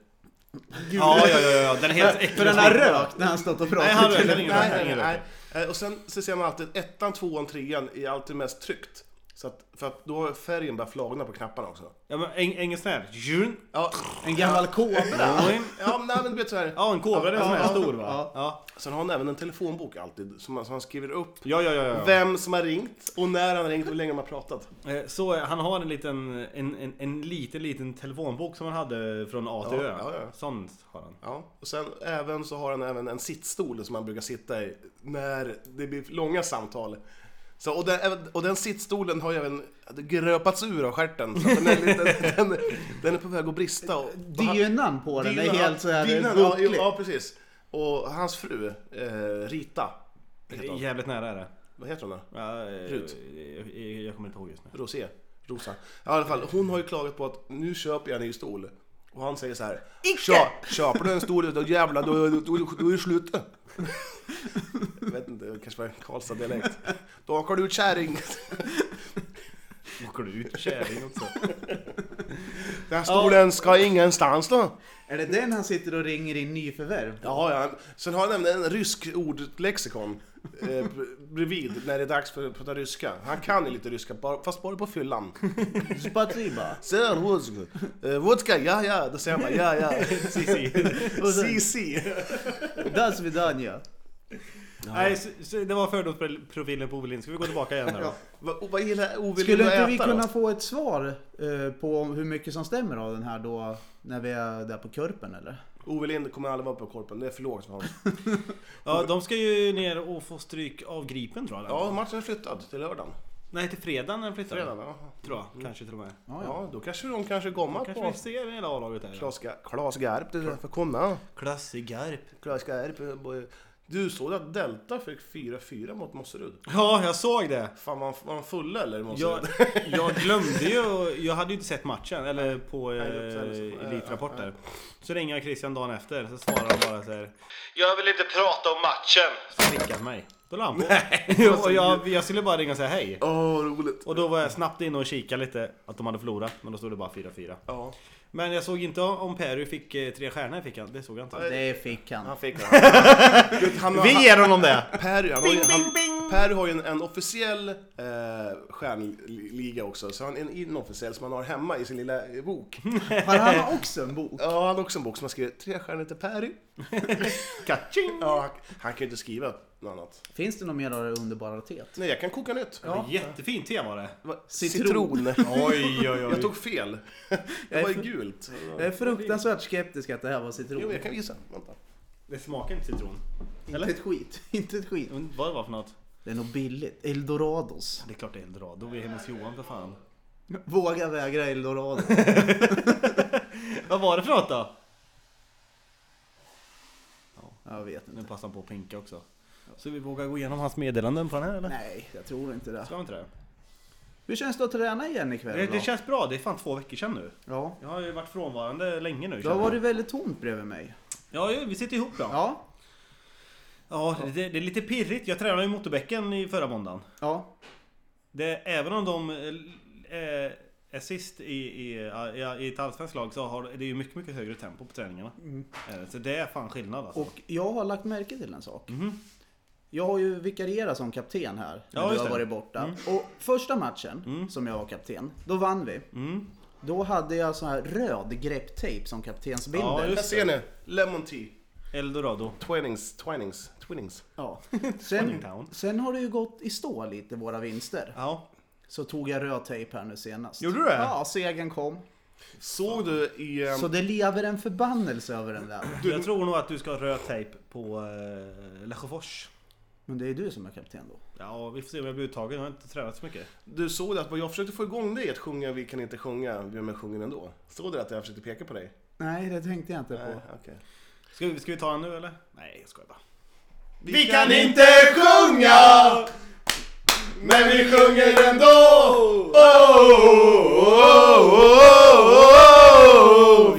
Speaker 2: Ja, ja, ja, ja. Den är helt äcklig.
Speaker 4: för den har rökt när han stått och pratat.
Speaker 2: Nej, han
Speaker 4: i
Speaker 2: röker
Speaker 4: telefon.
Speaker 2: ingen.
Speaker 3: Nej, nej,
Speaker 2: ingen
Speaker 3: nej. Eh, Och sen så ser man alltid ettan, tvåan, trean är alltid mest tryckt. Så att, för att då har färgen börjat flagna på knapparna också.
Speaker 2: Ja, men en, en sån här. Jun.
Speaker 3: Ja,
Speaker 4: En gammal kobra.
Speaker 2: Join.
Speaker 3: ja men nej, men du vet så här.
Speaker 2: Ja, en kobra. Det är en sån här
Speaker 4: Ja,
Speaker 2: stor va?
Speaker 4: ja.
Speaker 2: Ja,
Speaker 3: Sen har han även en telefonbok alltid, som han, som han skriver upp
Speaker 2: ja, ja. ja, ja.
Speaker 3: vem som har ringt och när han har ringt och hur länge de har pratat.
Speaker 2: Eh, Så eh, han har en liten, en, en, en liten, liten telefonbok som han hade från A till
Speaker 3: Ja,
Speaker 2: Ö.
Speaker 3: ja, ja.
Speaker 2: Sånt har han.
Speaker 3: Ja. Och sen även så har han även en sittstol som han brukar sitta i när det blir långa samtal. Så, och, den, och den sittstolen har ju även gröpats ur av stjärten. Så att den, är lite, den, den är på väg att brista. Och, och han-
Speaker 4: Dynan på den är
Speaker 3: Dynan,
Speaker 4: helt så
Speaker 3: dynan,
Speaker 4: här
Speaker 3: ja, jo,
Speaker 4: bucklig.
Speaker 3: ja, precis. Och hans fru, eh, Rita,
Speaker 2: Det
Speaker 3: heter
Speaker 2: är
Speaker 3: hon.
Speaker 2: Jävligt nära är det.
Speaker 3: vad heter hon då?
Speaker 2: Ja, eh,
Speaker 3: Rut.
Speaker 2: Jag, jag kommer inte ihåg just nu.
Speaker 3: Rosé? Rosa? Ja, i alla fall, hon har ju klagat på att nu köper jag en ny stol. Och han säger så här. "Kö- Köper du en stol då jävlar då, då, då, då är det slut. Jag vet inte, det kanske var en Karlstad-dialekt. Då åker du ut kärring.
Speaker 2: Åker du ut kärring också?
Speaker 3: Den här stolen ska ingenstans då.
Speaker 4: Är det den han sitter och ringer in nyförvärv?
Speaker 3: Ja, ja. Sen har han även en rysk ordlexikon eh, bredvid när det är dags för att prata ryska. Han kan ju lite ryska, bara- fast bara på fyllan.
Speaker 4: Spatiba.
Speaker 3: Ser vodka? Eh, Vodka, ja ja. Då säger man ja ja.
Speaker 2: Si, si.
Speaker 3: CC.
Speaker 4: До свидания.
Speaker 2: Nej, så, så det var fördomsprofilen på Ove Lind. Ska vi gå tillbaka igen där då?
Speaker 3: Vad vad gillar Ove
Speaker 4: Skulle
Speaker 3: Lind att
Speaker 4: inte
Speaker 3: äta
Speaker 4: vi
Speaker 3: då?
Speaker 4: kunna få ett svar eh, på hur mycket som stämmer av den här då när vi är där på Körpen eller?
Speaker 3: Ove Lind kommer aldrig vara på korpen, det är för lågt för honom.
Speaker 2: Ja, de ska ju ner och få stryk av Gripen tror jag.
Speaker 3: Ja, matchen är flyttad till lördagen.
Speaker 2: Nej, till fredagen när de flyttar.
Speaker 3: Fredag, ja.
Speaker 2: Tror jag, kanske till och med.
Speaker 4: Ja, ja.
Speaker 3: ja, då kanske de kanske gommar
Speaker 2: Kanske vi
Speaker 3: på
Speaker 2: ser hela A-laget där.
Speaker 3: Klas Ga- Klas Garp, det är för komma.
Speaker 2: Klasse Garp.
Speaker 3: Klas Garp. eh, boy. Du såg att Delta fick 4-4 mot Mosserud?
Speaker 2: Ja, jag såg det.
Speaker 3: Fan, var han- var han fulla eller? i Mosserud?
Speaker 2: Jag, jag glömde ju, jag hade ju inte sett matchen, eller på eh,
Speaker 3: Nej, det är så. Ja, ja,
Speaker 2: elitrapporter. Så ringer jag Christian dagen efter, så svarar han bara så här. Jag vill inte prata om matchen! Så klickar han mig. Då la han på. och jag, jag skulle bara ringa och säga hej.
Speaker 3: Åh, roligt!
Speaker 2: Och då var jag snabbt inne och kikade lite att de hade förlorat, men då stod det bara 4-4.
Speaker 3: Ja,
Speaker 2: Men jag såg inte om Perry fick eh, tre stjärnor, fick han. det såg jag inte.
Speaker 4: Det fick han.
Speaker 3: han fick det. Han- han-
Speaker 2: Vi ger honom det!
Speaker 3: Perry, han har ju, han, Perry har ju en, en officiell eh, stjärnliga också, så han är en inofficiell som han har hemma i sin lilla eh, bok.
Speaker 4: Har han också en bok?
Speaker 3: Ja, han har också en bok som han skrivit tre stjärnor till Perry.
Speaker 2: Kaching!
Speaker 3: Ja, han, han kan ju inte skriva något annat.
Speaker 4: Finns det något mer av det underbara teet?
Speaker 3: Nej, jag kan koka nytt.
Speaker 4: Ja.
Speaker 2: Jättefint te var det.
Speaker 3: Va-
Speaker 4: Citron.
Speaker 2: Oj, oj,
Speaker 3: Jag tog fel. Det var ju gult.
Speaker 4: Jag är fruktansvärt skeptisk att det här var
Speaker 3: Jo,
Speaker 4: citron.
Speaker 3: jag kan visa. Vänta.
Speaker 2: Det smakar inte citron.
Speaker 4: Inte ett skit. Inte ett skit.
Speaker 2: Jag vet inte Vad det var för något?
Speaker 4: Det är nog billigt. Eldorados.
Speaker 2: Det är klart det är eldorado, vi är hemma hos Johan för fan.
Speaker 4: Våga vägra eldorado.
Speaker 2: Vad var det för något då?
Speaker 4: Jag vet
Speaker 2: Nu
Speaker 4: inte.
Speaker 2: passar han på att pinka också. Så vi vågar gå igenom hans meddelanden på den här eller?
Speaker 4: Nej, jag tror inte det.
Speaker 2: Ska vi inte det?
Speaker 4: Hur känns det att träna igen
Speaker 2: Det,
Speaker 4: ikväll
Speaker 2: det
Speaker 4: då?
Speaker 2: känns bra, det är fan två veckor sedan nu.
Speaker 4: Ja.
Speaker 2: Jag har ju varit frånvarande länge nu.
Speaker 4: Det har
Speaker 2: känner jag.
Speaker 4: varit väldigt tomt bredvid mig.
Speaker 2: Ja, ju, vi sitter ihop då. Ja,
Speaker 4: Ja.
Speaker 2: det, det är lite pirrigt. Jag tränade i motorbäcken i förra måndagen.
Speaker 4: Ja.
Speaker 2: Det, även om de eh, är sist i, i, i, i ett allsvenskt lag så har, det är ju mycket, mycket högre tempo på träningarna. Eh, Så det är fan skillnad alltså.
Speaker 4: Mm. Och jag har lagt märke till en sak. Jag har ju vikarierat som kapten här när
Speaker 2: Mhm. Ja,
Speaker 4: du
Speaker 2: just
Speaker 4: har
Speaker 2: det.
Speaker 4: varit
Speaker 2: Mm.
Speaker 4: borta. Och första matchen som jag var kapten, då vann vi.
Speaker 2: Mm.
Speaker 4: Då hade jag så här röd grepptejp som
Speaker 2: Ja,
Speaker 4: kaptensbindel.
Speaker 2: just-
Speaker 4: Ja,
Speaker 3: Här ser ni. Lemon tea.
Speaker 2: Eldorado.
Speaker 3: Twinnings. Twinnings. Twinnings.
Speaker 4: Sen,
Speaker 2: Town.
Speaker 4: sen har det ju gått i stå lite våra vinster.
Speaker 2: Ja.
Speaker 4: Så tog jag röd tejp här nu senast.
Speaker 2: Gjorde du det?
Speaker 4: Ja, segern kom.
Speaker 3: Såg du i... eh,
Speaker 4: Så det lever en förbannelse över den där.
Speaker 2: Jag tror nog att du ska ha röd tejp på eh, Lesjöfors.
Speaker 4: Men det är du som är kapten då.
Speaker 2: Ja, vi får se om jag blir uttagen. Jag har inte tränat så mycket.
Speaker 3: Du såg det att jag försökte få igång dig att sjunga Vi kan inte sjunga, men sjunger ändå. Såg du att jag försökte peka på dig?
Speaker 4: Nej, det tänkte jag inte
Speaker 3: Nej,
Speaker 4: på.
Speaker 3: okej.
Speaker 2: Ska vi, ska vi ta den nu eller? Nej, jag skojar bara.
Speaker 3: Vi kan inte sjunga, men vi sjunger ändå.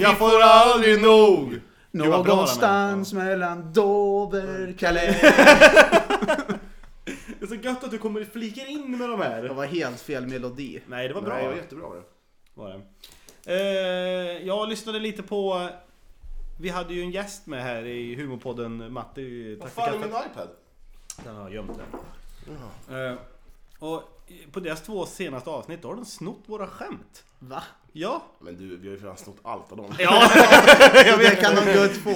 Speaker 3: Jag får aldrig nog.
Speaker 2: Gud, vad bra
Speaker 4: Någonstans mellan
Speaker 2: Mm.
Speaker 4: Doverkalä.
Speaker 2: Det är så gött att du kommer flikar in med de
Speaker 4: Det
Speaker 2: här.
Speaker 4: var helt fel melodi.
Speaker 2: Nej, det var bra.
Speaker 3: Nej, det var jättebra. var det.
Speaker 2: var det. Eh, jag lyssnade lite på... Vi hade ju en gäst med här i humorpodden Matti.
Speaker 3: Vad
Speaker 2: Tack för
Speaker 3: fan är min
Speaker 2: kaffet.
Speaker 3: iPad?
Speaker 2: Den har jag gömt den. Eh, och på deras två senaste avsnitt, då har de snott våra skämt.
Speaker 4: Va?
Speaker 2: Ja.
Speaker 3: Men du, vi har ju redan snott allt av dem.
Speaker 2: Ja,
Speaker 4: Det kan de gott få.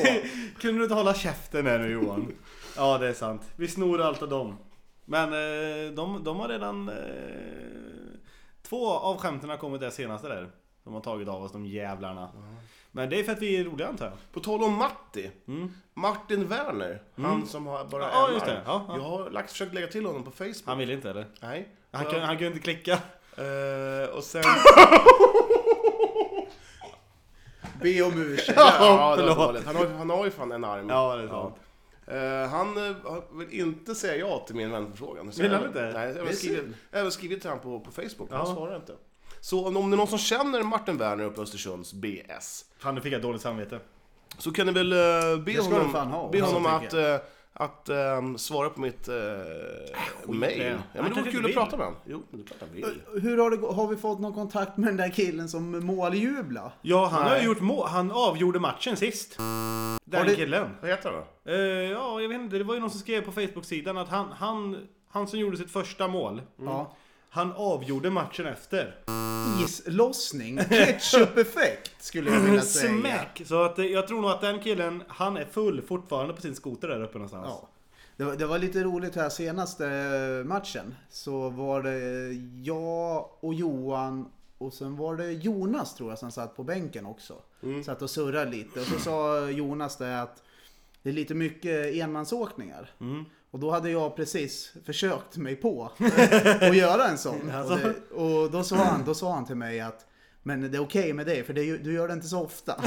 Speaker 2: Kunde du inte hålla käften här nu Johan? Ja det är sant. Vi snor allt av dem. Men eh, de, de har redan... Eh, två av skämten har kommit det senaste där. De har tagit av oss de jävlarna. Men det är för att vi är roliga antar jag.
Speaker 3: På tal om Matti.
Speaker 2: Mm.
Speaker 3: Martin Werner, han som har bara
Speaker 2: Ja,
Speaker 3: en
Speaker 2: just det.
Speaker 3: arm.
Speaker 2: Ja, ja.
Speaker 3: Jag har lagt, försökt lägga till honom på Facebook.
Speaker 2: Han ville inte eller?
Speaker 3: Nej.
Speaker 2: Han
Speaker 3: Ja.
Speaker 2: kunde, han kunde inte klicka.
Speaker 3: Eh, och sen...
Speaker 4: Be om ursäkt.
Speaker 3: ja, det var
Speaker 2: förlåt.
Speaker 3: dåligt. han, har, han har ju fan en arm.
Speaker 2: Ja det är sant.
Speaker 3: Eh, han eh, vill inte säga ja till min vänförfrågan. Så
Speaker 2: Vill han
Speaker 3: jag-
Speaker 2: inte?
Speaker 3: Nej, jag
Speaker 2: Det
Speaker 3: har
Speaker 2: är
Speaker 3: skrivit,
Speaker 2: synd.
Speaker 3: jag har skrivit till honom på, på Facebook, men
Speaker 2: Ja.
Speaker 3: han svarar inte. Så om, om det är någon som känner Martin Werner uppe i Östersunds BS,
Speaker 2: Fan nu fick jag dåligt samvete.
Speaker 3: så kan ni väl eh, be
Speaker 4: Det ska
Speaker 3: honom,
Speaker 4: du fan ha.
Speaker 3: be
Speaker 4: Ja,
Speaker 3: honom att,
Speaker 2: tänker
Speaker 3: eh, att eh, svara på mitt eh, mail.
Speaker 2: det.
Speaker 3: Ja, men
Speaker 2: Han
Speaker 3: det
Speaker 2: kanske
Speaker 3: vore kul
Speaker 2: inte
Speaker 3: att
Speaker 2: vill.
Speaker 3: prata med honom. Jo, men det är klart han vill.
Speaker 4: Hur har, det, gå- har vi fått någon kontakt med den där killen som måljubla?
Speaker 2: Ja han har
Speaker 3: Nej.
Speaker 2: ju gjort mål. Han avgjorde matchen sist. Den
Speaker 4: det-
Speaker 2: killen.
Speaker 3: Vad heter han då?
Speaker 2: Eh, ja, jag vet inte. Det var ju någon som skrev på Facebook-sidan att han, han, han som gjorde sitt första mål,
Speaker 3: Mm.
Speaker 4: Ja.
Speaker 2: han avgjorde matchen efter.
Speaker 4: Islossning. Ketchup-effekt skulle jag vilja säga.
Speaker 2: Smack! Så att, eh, jag tror nog att den killen, han är full fortfarande på sin skoter där uppe någonstans.
Speaker 4: Ja. Alltså. Det var, det var lite roligt här senaste eh, matchen. Så var det jag och Johan och sen var det Jonas tror jag som satt på bänken också. Satt och surrade lite och så sa Jonas det att det är lite mycket enmansåkningar. Och då hade jag precis försökt mig på att göra en sån. Och, det, och då, sa han, då sa han till mig att men det är okej med dig för det, är ju- du gör det inte så ofta.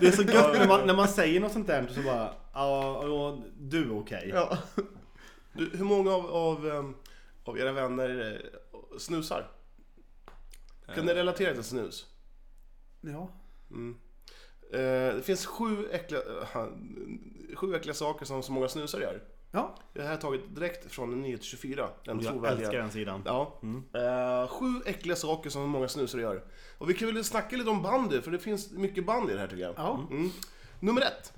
Speaker 2: Det är så gött när man, när man säger något sånt där så bara, ja, ja, du är okej.
Speaker 4: Ja.
Speaker 3: Du, hur många av, av, ehm, av era vänner eh, snusar? Kan ni relatera till snus?
Speaker 4: ja.
Speaker 3: Eh, det finns sju äckliga, eh, sju äckliga saker som så många snusare gör.
Speaker 4: Ja.
Speaker 3: Det här är taget direkt från Nyhet 24, den
Speaker 2: Jag
Speaker 3: trovärdiga.
Speaker 2: älskar den sidan.
Speaker 3: Ja. Eh, sju äckliga saker som många snusare gör. Och vi kan väl snacka lite om bandy, för det finns mycket bandy i det här tycker jag.
Speaker 4: ja.
Speaker 3: Mm. Nummer ett.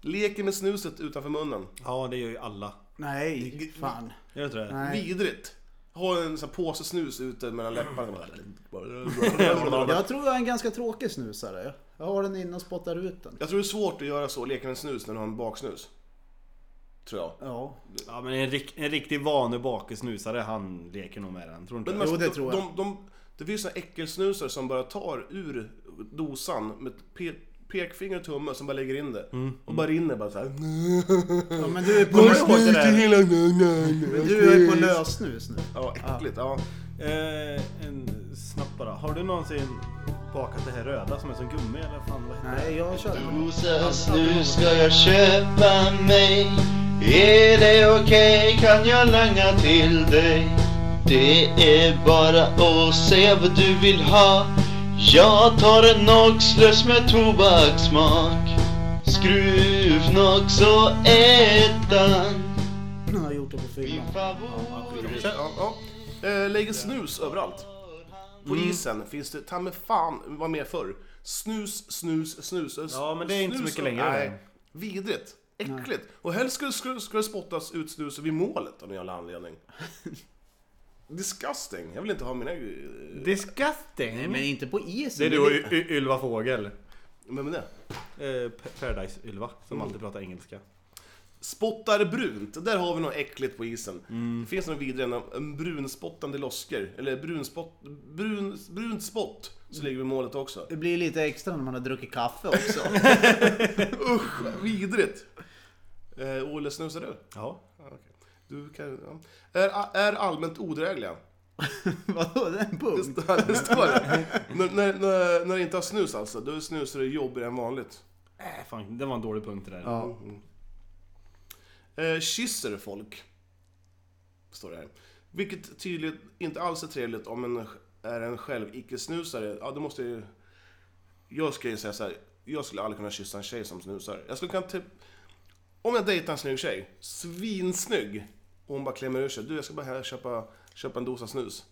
Speaker 3: Leker med snuset utanför munnen.
Speaker 2: Ja, det gör ju alla.
Speaker 4: Nej, fan.
Speaker 2: Gör det inte det?
Speaker 4: Nej.
Speaker 3: Vidrigt. Ha en sån här påse snus ute mellan läpparna.
Speaker 4: Jag tror jag är en ganska tråkig snusare. Jag har den inne och spottar ut den.
Speaker 3: Jag tror det är svårt att göra så, leka med snus när du har en baksnus. Tror jag.
Speaker 4: Ja.
Speaker 2: Ja, men en, rik, en riktig vanlig bakesnusare, han leker nog med den. Tror du inte?
Speaker 3: Men
Speaker 4: Jo, det
Speaker 3: de-
Speaker 4: tror
Speaker 3: De, de, det finns såna äckelsnusare som bara tar ur dosan med pe, pekfinger och tumme som bara lägger in det. Och bara rinner bara såhär.
Speaker 4: ja men du är på, lös, men du är på lössnus nu.
Speaker 3: Ja, äckligt. Ja.
Speaker 2: Eh, en snabb bara. Har du någonsin bakat det här röda som är som gummi eller fan vad heter det?
Speaker 4: Nej, jag kör den.
Speaker 5: Rosas nu ska jag köpa mig Är det okej kan jag langa till dig Det är bara att säga vad du vill ha Jag tar en Noxlös med tobakssmak Skruvnox och ettan
Speaker 4: Jag har gjort det på
Speaker 5: Min
Speaker 4: fyllan.
Speaker 5: favorit
Speaker 3: Ja, ja. Eh, Lägger snus överallt. På
Speaker 2: Mm.
Speaker 3: isen finns det, ta mig fan, var med förr. Snus, snus, snus. eh,
Speaker 2: Ja, men det är inte så
Speaker 3: snus-
Speaker 2: mycket längre.
Speaker 3: Nej, vidrigt. Äckligt. Och helst skulle, skulle, skulle det spottas ut snus vid målet av någon jävla anledning. Disgusting. Jag vill inte ha mina... eh,
Speaker 2: Disgusting!
Speaker 4: Nej, men inte på isen.
Speaker 2: Det är du och Y- Y- Ylva Fågel.
Speaker 3: Vem är det?
Speaker 2: Eh, Pa- Paradise-Ylva, som alltid pratar engelska.
Speaker 3: Spottar brunt. Där har vi något äckligt på isen.
Speaker 2: Mm.
Speaker 3: Det finns något vidare än en brunspottande losker. Eller brunspott... Brun, brunt spott. Så ligger vi i målet också.
Speaker 4: Det blir lite extra när man har druckit kaffe också.
Speaker 3: Usch, vad vidrigt. Eh, Olle, snusar du?
Speaker 2: Ja.
Speaker 3: Ja, okej. Du kan... Ja. Är, är allmänt odrägliga?
Speaker 4: Vadå, det är en
Speaker 3: Det
Speaker 4: punkt?
Speaker 3: står det. Står det. när, när, när, när det inte har snus alltså, då snusar du jobbigare än vanligt.
Speaker 2: Äh, fan, det var en dålig punkt det där.
Speaker 4: Ja.
Speaker 3: Eh, kysser folk. Står det här. Vilket tydligt inte alls är trevligt om en är en själv icke-snusare. Ja, då måste jag ju... Jag skulle ju säga så här. Jag skulle aldrig kunna kyssa en tjej som snusar. Jag skulle kunna typ... Om jag dejtar en snygg tjej, svinsnygg, och hon bara klämmer ur sig. Du, jag ska bara här köpa, köpa en dosa snus.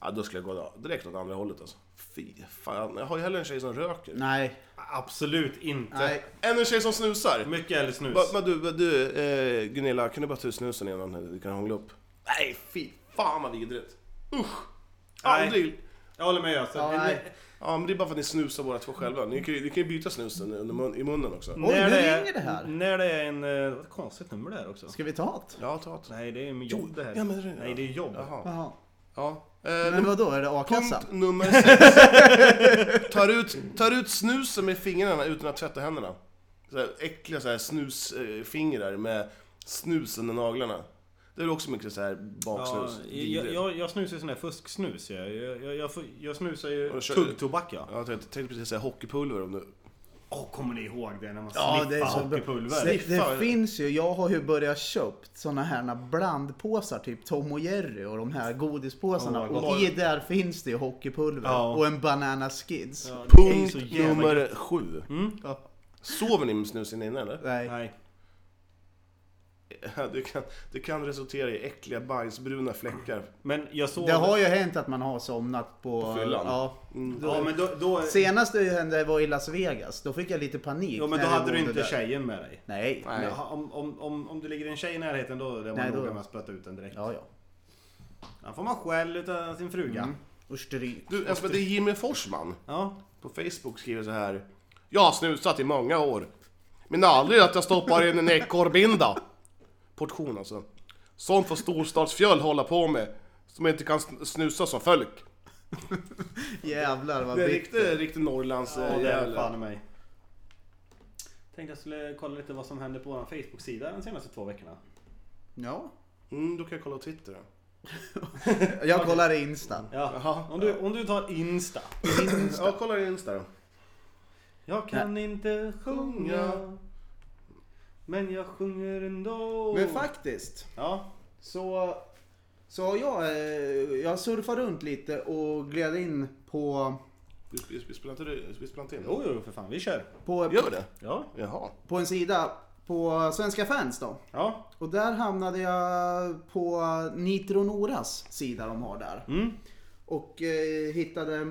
Speaker 3: Ja, då skulle jag gå direkt åt andra hållet alltså. Fy fan, jag har ju hellre en tjej som röker.
Speaker 4: Nej,
Speaker 2: Absolut inte.
Speaker 4: nej.
Speaker 3: Än en tjej som snusar.
Speaker 2: Mycket eller snus.
Speaker 3: Va- Men du, men du eh, Gunilla, kan du bara ta ut snusen innan du kan hångla upp? Nej, fy fan vad vidrigt. Usch!
Speaker 2: Nej.
Speaker 3: Aldrig.
Speaker 2: Jag håller med alltså.
Speaker 4: Ja, nej.
Speaker 3: Ja, men det är bara för att ni snusar båda två själva. Ni kan ju, ni kan ju byta snusen under mun, i munnen också.
Speaker 2: Mm.
Speaker 4: Oj, nu
Speaker 2: är-
Speaker 4: ringer det här.
Speaker 2: När det är en... eh, Vad konstigt nummer det är också.
Speaker 4: Ska vi ta det?
Speaker 3: Ja, ta ett.
Speaker 2: Nej, det är med jobb det här.
Speaker 3: ja, men det-
Speaker 2: Nej, det är jobb.
Speaker 3: Jaha.
Speaker 4: Jaha.
Speaker 3: Ja. Eh,
Speaker 4: Men
Speaker 3: num-
Speaker 4: vadå, är det a-kassan?
Speaker 3: punkt nummer sex. tar, ut, tar ut snusen med fingrarna utan att tvätta händerna. Så här, äckliga så här, snusfingrar med snus under naglarna. Det är väl också mycket så här
Speaker 2: Ja,
Speaker 3: baksnus.
Speaker 2: jag,
Speaker 3: Vidrigt.
Speaker 2: jag, jag snusar ju sån där fusksnus. Jag, jag, jag, jag, får- jag snusar
Speaker 3: Och då
Speaker 2: ju
Speaker 3: kör-
Speaker 2: tuggtobak ja.
Speaker 3: Ja, Jag tänkte, tänkte precis säga hockeypulver om du...
Speaker 2: Åh, kommer ni ihåg det när man
Speaker 4: Ja, det är
Speaker 2: sniffar
Speaker 4: så bra.
Speaker 2: hockeypulver?
Speaker 4: Det,
Speaker 3: Sniffa.
Speaker 4: det finns ju, jag har ju börjat köpt såna här blandpåsar, typ Tom och Jerry och de här godispåsarna.
Speaker 2: Oh my God.
Speaker 4: och i där finns det ju hockeypulver
Speaker 2: Ja.
Speaker 4: och en banana skids.
Speaker 2: Ja, det är ju så
Speaker 3: Punkt
Speaker 2: jävla Mm. gött.
Speaker 3: nummer sju. Sover ni med snusen inne eller?
Speaker 4: Nej.
Speaker 2: Nej.
Speaker 3: Det kan, det kan resultera i äckliga bajsbruna fläckar.
Speaker 2: Men jag såg...
Speaker 4: Det har ju hänt att man har somnat på...
Speaker 3: På fyllan.
Speaker 4: Ja.
Speaker 2: Ja, men då... då...
Speaker 4: Senast det hände var i Las Vegas, då fick jag lite panik.
Speaker 2: Jo, men då
Speaker 4: när jag
Speaker 2: hade du
Speaker 4: bodde
Speaker 2: inte
Speaker 4: där.
Speaker 2: tjejen med dig.
Speaker 4: Nej.
Speaker 3: Nej.
Speaker 2: Men Om, om, om, om det ligger en tjej i närheten då är man
Speaker 4: Nej, då-
Speaker 2: noga med att sprätta ut den direkt.
Speaker 4: Ja, Mm. ja.
Speaker 2: Då får man skäll utav sin fruga.
Speaker 4: Och stryk.
Speaker 3: Du, alltså, det är Jimmy Forsman
Speaker 2: Ja.
Speaker 3: på Facebook skriver så här. Jag har snusat i många år. Men aldrig att jag stoppar in en ekorrbinda. Portion alltså. Sånt får storstadsfjöl hålla på med. Som inte kan sn- snusa som folk.
Speaker 4: Jävlar vad
Speaker 3: Det är
Speaker 4: bitter.
Speaker 3: riktigt, riktigt Norrlands...
Speaker 2: Ja,
Speaker 3: eh,
Speaker 2: det är
Speaker 3: jävla-
Speaker 2: det fan i mig. Tänkte jag skulle kolla lite vad som hände på vår Facebook-sida de senaste två veckorna.
Speaker 4: Ja.
Speaker 3: Mm, då kan jag kolla på Twitter. då.
Speaker 4: Jag kollar Insta.
Speaker 2: Ja.
Speaker 3: Jaha.
Speaker 2: Om, du, om du tar Insta.
Speaker 3: Ja, kolla in Insta då.
Speaker 2: Jag kan inte sjunga. Men jag sjunger ändå.
Speaker 4: Men faktiskt.
Speaker 2: Ja.
Speaker 4: Så, så har jag, eh, jag surfar runt lite och gled in på,
Speaker 3: Vi, vi, vi spelar inte det- vi spelar inte in?
Speaker 2: Jo, jo, för fan. Vi kör.
Speaker 4: på,
Speaker 3: Gör vi det?
Speaker 2: Ja.
Speaker 3: Jaha.
Speaker 4: på en sida på Svenska fans då.
Speaker 2: Ja.
Speaker 4: Och där hamnade jag på Nitro Noras sida de har där.
Speaker 2: Mm.
Speaker 4: Och eh, hittade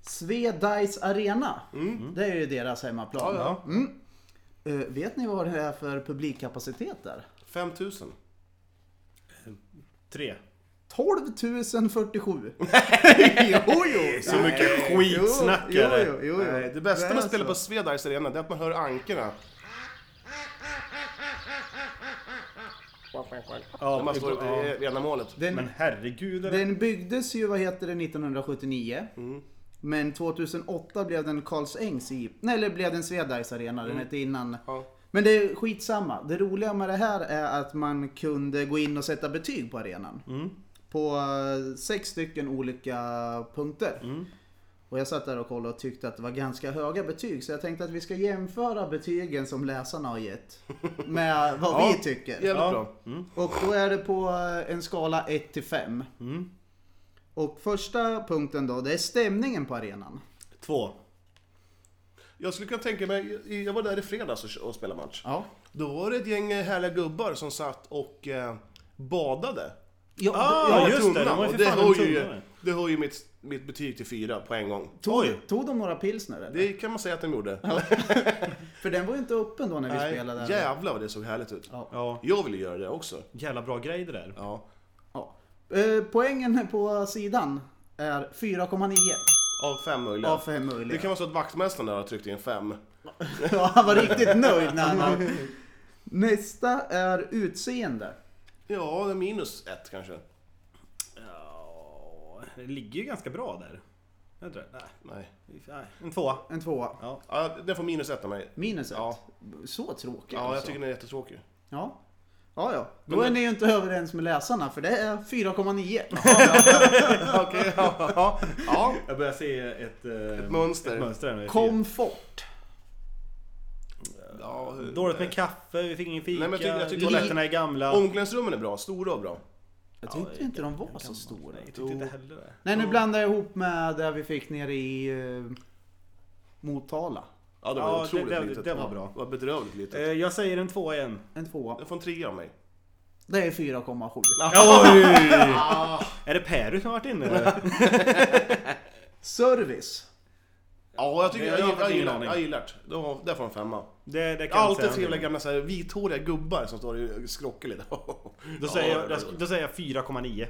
Speaker 4: Svedais Arena. Mm. Det är ju deras hemmaplan.
Speaker 3: Ja,
Speaker 4: Mm. Eh, vet ni vad det är för publikkapacitet där?
Speaker 3: 5000.
Speaker 2: Tre.
Speaker 4: 12 047! jo, jo!
Speaker 2: Så mycket skitsnack
Speaker 4: jo,
Speaker 2: är det.
Speaker 4: jo, alltså, jo, jo.
Speaker 3: Nej, det bästa med att spela
Speaker 4: så.
Speaker 3: på Svedais Arena det är att man hör ankorna.
Speaker 2: Ja,
Speaker 3: När man står
Speaker 2: ja.
Speaker 3: i ena målet.
Speaker 4: Den,
Speaker 2: Men herregud. eller?
Speaker 4: den byggdes ju, vad heter det, 1979.
Speaker 3: Mm.
Speaker 4: Men 2008 blev den Karlsängs i... Nej, eller blev den Svedbergs arena, den
Speaker 3: Mm.
Speaker 4: hette innan.
Speaker 3: Ja.
Speaker 4: Men det är skitsamma. Det roliga med det här är att man kunde gå in och sätta betyg på arenan. På eh, sex stycken olika punkter. Och jag satt där och kollade och tyckte att det var ganska höga betyg. Så jag tänkte att vi ska jämföra betygen som läsarna har gett med vad vi tycker.
Speaker 3: Jävligt
Speaker 2: Ja.
Speaker 3: bra.
Speaker 4: Och då är det på eh, en skala 1 till 5. Och första punkten då, det är stämningen på arenan.
Speaker 2: Två.
Speaker 3: Jag skulle kunna tänka mig, jag var där i fredags och- och spelade match.
Speaker 4: Ja.
Speaker 3: Då var det ett gäng eh, härliga gubbar som satt och eh, badade.
Speaker 4: Ja,
Speaker 2: Ah,
Speaker 4: ja,
Speaker 3: Med
Speaker 2: just det, de var
Speaker 3: och
Speaker 2: ju för
Speaker 3: det
Speaker 2: fan
Speaker 3: höjer
Speaker 2: en
Speaker 3: ju,
Speaker 2: tunnare.
Speaker 3: det höjer ju mitt, mitt betyg till fyra på en gång.
Speaker 4: tog,
Speaker 2: Oj.
Speaker 4: tog de några pilsner eller?
Speaker 3: Det kan man säga att de gjorde.
Speaker 4: För den var ju inte öppen då när vi
Speaker 3: Nej,
Speaker 4: spelade. där.
Speaker 3: jävlar vad det såg härligt ut.
Speaker 4: Ja.
Speaker 2: Ja.
Speaker 3: Jag ville göra det också.
Speaker 2: Jävla bra grej det där.
Speaker 3: Ja.
Speaker 4: Ja. Eh, Poängen på sidan är 4,9
Speaker 3: Av fem möjliga.
Speaker 4: av 5
Speaker 3: Det
Speaker 4: möjliga.
Speaker 3: kan vara så att vaktmästaren där har tryckt in fem.
Speaker 4: Ja, han var riktigt nöjd när han var. Nästa är utseende.
Speaker 3: Ja, det är minus ett kanske.
Speaker 2: Ja, det ligger ju ganska bra där. Jag tror det. Nej.
Speaker 3: Nej.
Speaker 2: Nej. En tvåa.
Speaker 4: En tvåa.
Speaker 2: Ja.
Speaker 3: Ja, den får minus ett av mig.
Speaker 4: Minus ett.
Speaker 3: Ja.
Speaker 4: Så tråkigt
Speaker 3: Ja, jag
Speaker 4: alltså.
Speaker 3: tycker den är jättetråkig.
Speaker 4: Ja. Ja, ja. Då
Speaker 3: Men-
Speaker 4: är ni ju inte överens med läsarna för det är 4,9.
Speaker 3: Okej, ja, ja, ja.
Speaker 2: Jag börjar se ett, eh,
Speaker 3: Ett mönster.
Speaker 2: Ett mönster här nu.
Speaker 4: Komfort.
Speaker 3: ja. hur-
Speaker 2: Dåligt med kaffe, vi fick ingen fika.
Speaker 3: Nej, men jag tycker- jag tycker-
Speaker 2: toaletterna är gamla.
Speaker 3: Omklädningsrummen är bra, stora och bra.
Speaker 4: Jag tyckte inte de var så stora.
Speaker 2: Nej, jag tyckte inte heller det.
Speaker 4: Nej, nu blandar jag ihop med det vi fick nere i eh, Motala.
Speaker 3: Ja, det var
Speaker 2: Ja,
Speaker 3: otroligt
Speaker 2: det- det-
Speaker 3: litet.
Speaker 2: det var
Speaker 3: Ja,
Speaker 2: bra.
Speaker 3: Det var bedrövligt litet.
Speaker 2: Eh, Jag säger en tvåa igen.
Speaker 4: En tvåa.
Speaker 3: Den får en trea av mig.
Speaker 4: Det är 4,7.
Speaker 2: Ah. Är det Perry som har varit inne eller?
Speaker 4: Service.
Speaker 3: Ja, jag, tycker,
Speaker 2: Det-
Speaker 3: jag,
Speaker 2: jag har
Speaker 3: jag, jag,
Speaker 2: ingen
Speaker 3: gillar,
Speaker 2: aning.
Speaker 3: jag gillar det. Då har- Där får en femma.
Speaker 2: Det, det kan jag inte
Speaker 3: Alltid
Speaker 2: säga
Speaker 3: trevliga
Speaker 2: någonting.
Speaker 3: gamla så här, vithåriga gubbar som står i skrockeligt.
Speaker 2: Då säger jag, då säger jag 4,9.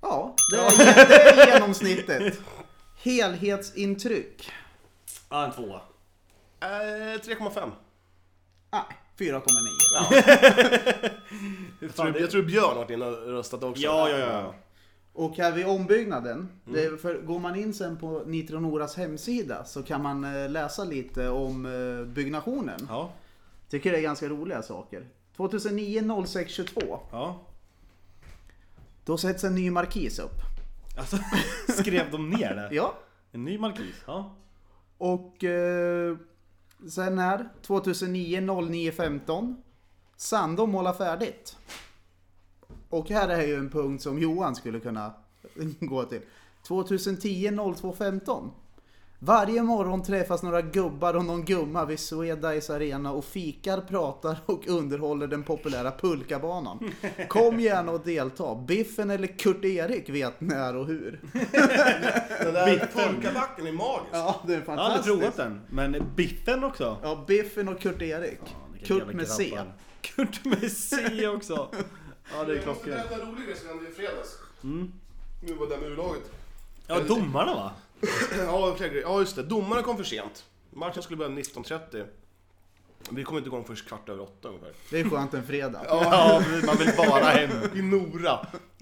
Speaker 4: Ja, det är, det är genomsnittet. Helhetsintryck.
Speaker 2: Ja, en tvåa.
Speaker 3: Eh, 3,5.
Speaker 4: Nej, 4,9.
Speaker 3: Jag
Speaker 2: Fan,
Speaker 3: tror,
Speaker 2: det-
Speaker 3: jag tror Björn har varit inne och röstat också.
Speaker 2: Ja, ja, ja.
Speaker 4: Och här vid ombyggnaden, det, för går man in sen på Nitronoras hemsida så kan man eh, läsa lite om eh, byggnationen.
Speaker 2: Ja,
Speaker 4: Tycker det är ganska roliga saker. 2009 06 22,
Speaker 2: ja.
Speaker 4: då sätts en ny markis upp.
Speaker 2: Alltså, skrev de ner det?
Speaker 4: Ja.
Speaker 2: En ny markis? Ja.
Speaker 4: Och eh, sen här, 2009 09 15, Sandom målar färdigt. Och här är ju en punkt som Johan skulle kunna gå till. 2010 02 15. Varje morgon träffas några gubbar och någon gumma vid Swedice Arena och fikar, pratar och underhåller den populära pulkabanan. Kom gärna och delta. Biffen eller Kurt-Erik vet när och hur.
Speaker 3: Den där pulkabacken är magisk.
Speaker 4: Ja, det är
Speaker 2: Jag har aldrig
Speaker 4: fantastiskt.
Speaker 2: provat den. Men Biffen också.
Speaker 4: Ja, Biffen och Kurt-Erik.
Speaker 2: vilka
Speaker 4: Kurt
Speaker 2: jävla
Speaker 4: med C.
Speaker 2: grabbar. Kurt med C också. Ja, det är Mm.
Speaker 3: Jag måste
Speaker 2: klockrent.
Speaker 3: berätta en rolig grej som hände i fredags. Nu var det med urlaget.
Speaker 2: Ja, domarna va?
Speaker 3: Ja, flera grejer. ja, just det. Domarna kom för sent. Matchen skulle börja 19.30. Vi kom inte igång först kvart över åtta ungefär.
Speaker 4: Det är skönt en fredag.
Speaker 2: Ja, man vill bara hem.
Speaker 3: I Nora.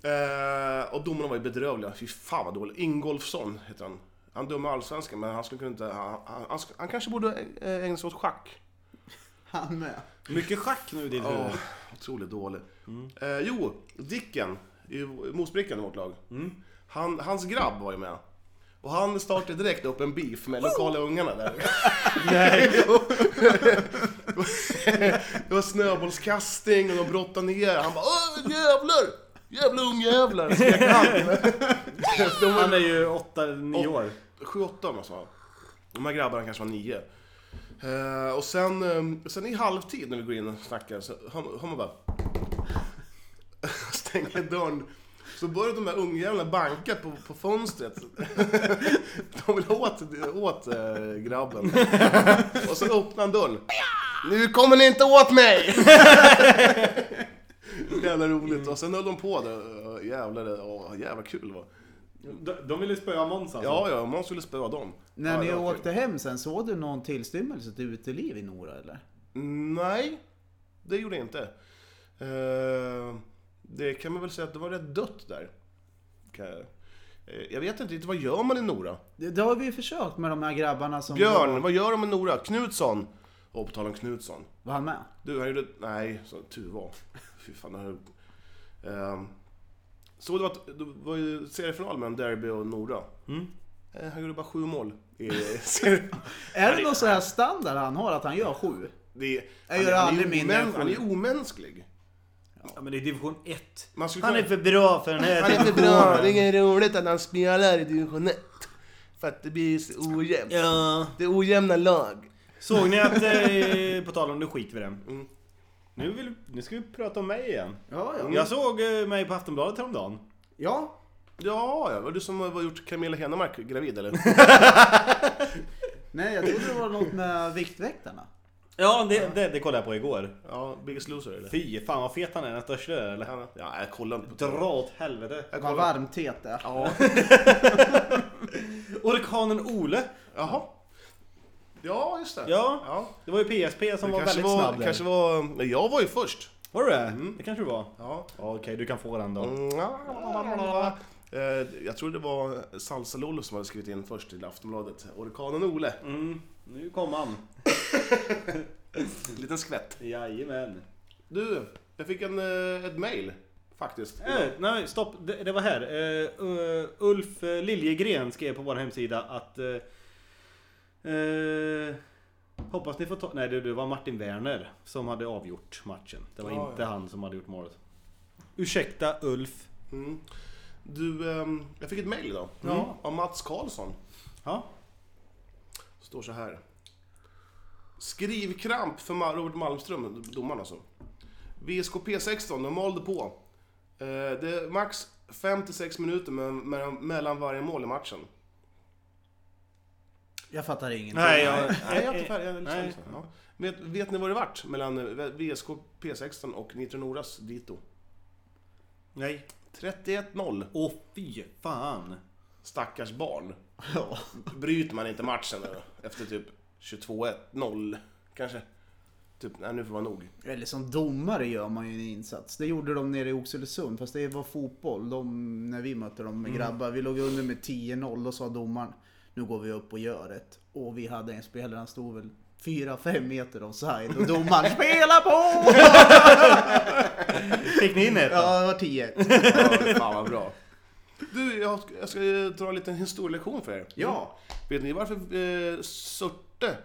Speaker 3: Eh, och domarna var ju bedrövliga. Fy fan vad dålig. Ingolfsson heter han. Han dömer allsvenskan, men han skulle kunna inte... Han, han, han, sk- han kanske borde eh, ägna sig åt schack.
Speaker 4: Han med.
Speaker 2: Mycket schack nu i ditt
Speaker 3: Ja,
Speaker 2: huvud.
Speaker 3: otroligt dålig. Eh, jo, Dicken, i mosbrickan i vårt lag.
Speaker 2: Mm.
Speaker 3: Han, hans grabb var ju med. Och han startade direkt upp en beef med lokala ungarna där.
Speaker 2: Nej.
Speaker 3: Det var snöbollskastning och de brottade ner. Han bara Åh, jävlar! Jävla ungjävlar! Skrek han. De var
Speaker 2: Han är ju 8-9 år.
Speaker 3: sju, åtta om jag sa. De här grabbarna kanske var nio. Eh, och sen, eh, sen i halvtid när vi går in och snackar så hör hör man bara... stänger dörren. Så börjar de här ungjävlarna banka på, på fönstret. de vill åt, åt eh, grabben. och så öppnar han dörren. Nu kommer ni inte åt mig! Jävla roligt. Och sen höll de på där. eh, Jävlar, oh, jävla kul det var.
Speaker 2: De- De ville spöa Måns alltså.
Speaker 3: Ja, ja, man skulle spöa dem.
Speaker 4: När
Speaker 3: ja,
Speaker 4: ni
Speaker 3: det var
Speaker 4: åkte hem sen, såg du någon tillstymmelse till uteliv i Nora eller?
Speaker 3: kul. Nej, det gjorde jag inte. Eh, det kan man väl säga att det var rätt dött där. Kan jag- eh, Jag vet inte riktigt, vad gör man i Nora?
Speaker 4: Det, det har vi ju försökt med de här grabbarna som...
Speaker 3: Björn, vad gör de i Nora? Knutsson? Åh, på tal om Knutsson.
Speaker 4: Var han med?
Speaker 3: Du, han gjorde... Nej, så, tur var. Fy fan, det här... Ehm, såg du att det var ju seriefinal mellan Derby och Nora?
Speaker 4: Mm.
Speaker 3: Eh, han gjorde bara sju mål i serien.
Speaker 4: Är det någon så här standard han har att han gör sju?
Speaker 3: Det är,
Speaker 4: Jag gör
Speaker 3: han, är
Speaker 4: aldrig mindre än
Speaker 3: omän,
Speaker 4: sju.
Speaker 3: han är omänsklig.
Speaker 2: Ja, men det är division 1.
Speaker 3: Man skulle
Speaker 2: Han är
Speaker 3: kunna-
Speaker 2: för bra för den här
Speaker 3: inget roligt att han spelar i division 1. För att det blir så ojämnt.
Speaker 2: Ja.
Speaker 3: Det är ojämna lag.
Speaker 2: Såg ni att, eh, på tal om nu skiter vi i den. Nu, vill, nu ska vi prata om mig igen.
Speaker 4: Ja, ja.
Speaker 2: Jag såg eh, mig på Aftonbladet häromdagen.
Speaker 4: Ja,
Speaker 3: Ja, ja, var det du som har gjort Camilla Henemark gravid eller?
Speaker 4: nej jag trodde det var något med Viktväktarna.
Speaker 2: Ja, det, det, det kollade jag på igår.
Speaker 3: ja, Biggest Loser eller?
Speaker 2: Fy fan vad fet han är, den största där, eller?
Speaker 3: Ja, jag kollar inte på det.
Speaker 2: Dra åt helvete.
Speaker 3: Jag
Speaker 4: Vad
Speaker 3: kollar.
Speaker 4: varmt det är.
Speaker 3: Ja,
Speaker 2: Orkanen Ole.
Speaker 3: jaha. Ja, just det.
Speaker 2: Ja.
Speaker 3: ja.
Speaker 2: Det var ju PSP som
Speaker 3: Det
Speaker 2: var
Speaker 3: kanske
Speaker 2: väldigt
Speaker 3: var,
Speaker 2: snabb där. Mm,
Speaker 3: kanske var... Nej, jag var ju först.
Speaker 2: Var Mm. det det? Det kanske det var.
Speaker 3: Ja.
Speaker 2: Ja, Okej, du kan få den då.
Speaker 3: Mm, ja. Eh, jag tror det var Salsa-Lollo som hade skrivit in först till Aftonbladet. Orkanen Ole.
Speaker 2: Mm, nu kom han.
Speaker 3: En liten skvätt.
Speaker 2: Jajamän.
Speaker 3: Du, jag fick en, eh, ett mail faktiskt.
Speaker 2: Eh, nej, stopp. Det, det var här. Eh, eh, Ulf eh, Liljegren skrev på vår hemsida att... Eh, eh, hoppas ni får ta... Nej, det, det var Martin Werner som hade avgjort matchen. Det var
Speaker 3: Ja,
Speaker 2: inte
Speaker 3: ja.
Speaker 2: han som hade gjort målet. Ursäkta Ulf.
Speaker 3: Mm. Du, ehm, jag fick ett mail idag. Mm.
Speaker 2: Ja.
Speaker 3: Av Mats Karlsson.
Speaker 2: Ja.
Speaker 3: Står så här. Skrivkramp för Ma- Robert Malmström, domaren alltså. VSKP 16, de malde på. Eh, Det är max 5-6 minuter me- me- mellan varje mål i matchen.
Speaker 4: Jag fattar ingenting.
Speaker 2: Nej, jag...
Speaker 3: Nej, jag är inte färdig. Jag är lite
Speaker 2: Nej.
Speaker 3: sämst. Ja. Vet, vet ni vad det vart mellan eh, VSKP 16 och Nitro Noras dito?
Speaker 2: Nej.
Speaker 3: 31-0.
Speaker 2: Åh fy fan.
Speaker 3: Stackars barn.
Speaker 4: Ja.
Speaker 3: Bryter man inte matchen då? Efter typ 22-1-0 kanske? Typ, nej nu får man nog.
Speaker 4: Eller som domare gör man ju en insats. Det gjorde de nere i Oxelösund, fast det var fotboll. De, när vi mötte dem med
Speaker 3: Mm.
Speaker 4: grabbar, vi låg under med 10-0 och sa domaren nu går vi upp och gör ett. Och vi hade en spelare, han stod väl 4-5 meter offside och domaren spela på!
Speaker 2: Fick ni in ett?
Speaker 4: Ja, det var 10
Speaker 3: Ja, fan vad bra. Du, jag, jag ska ju dra en liten historielektion för er.
Speaker 4: Ja.
Speaker 3: Vet ni varför eh, Surte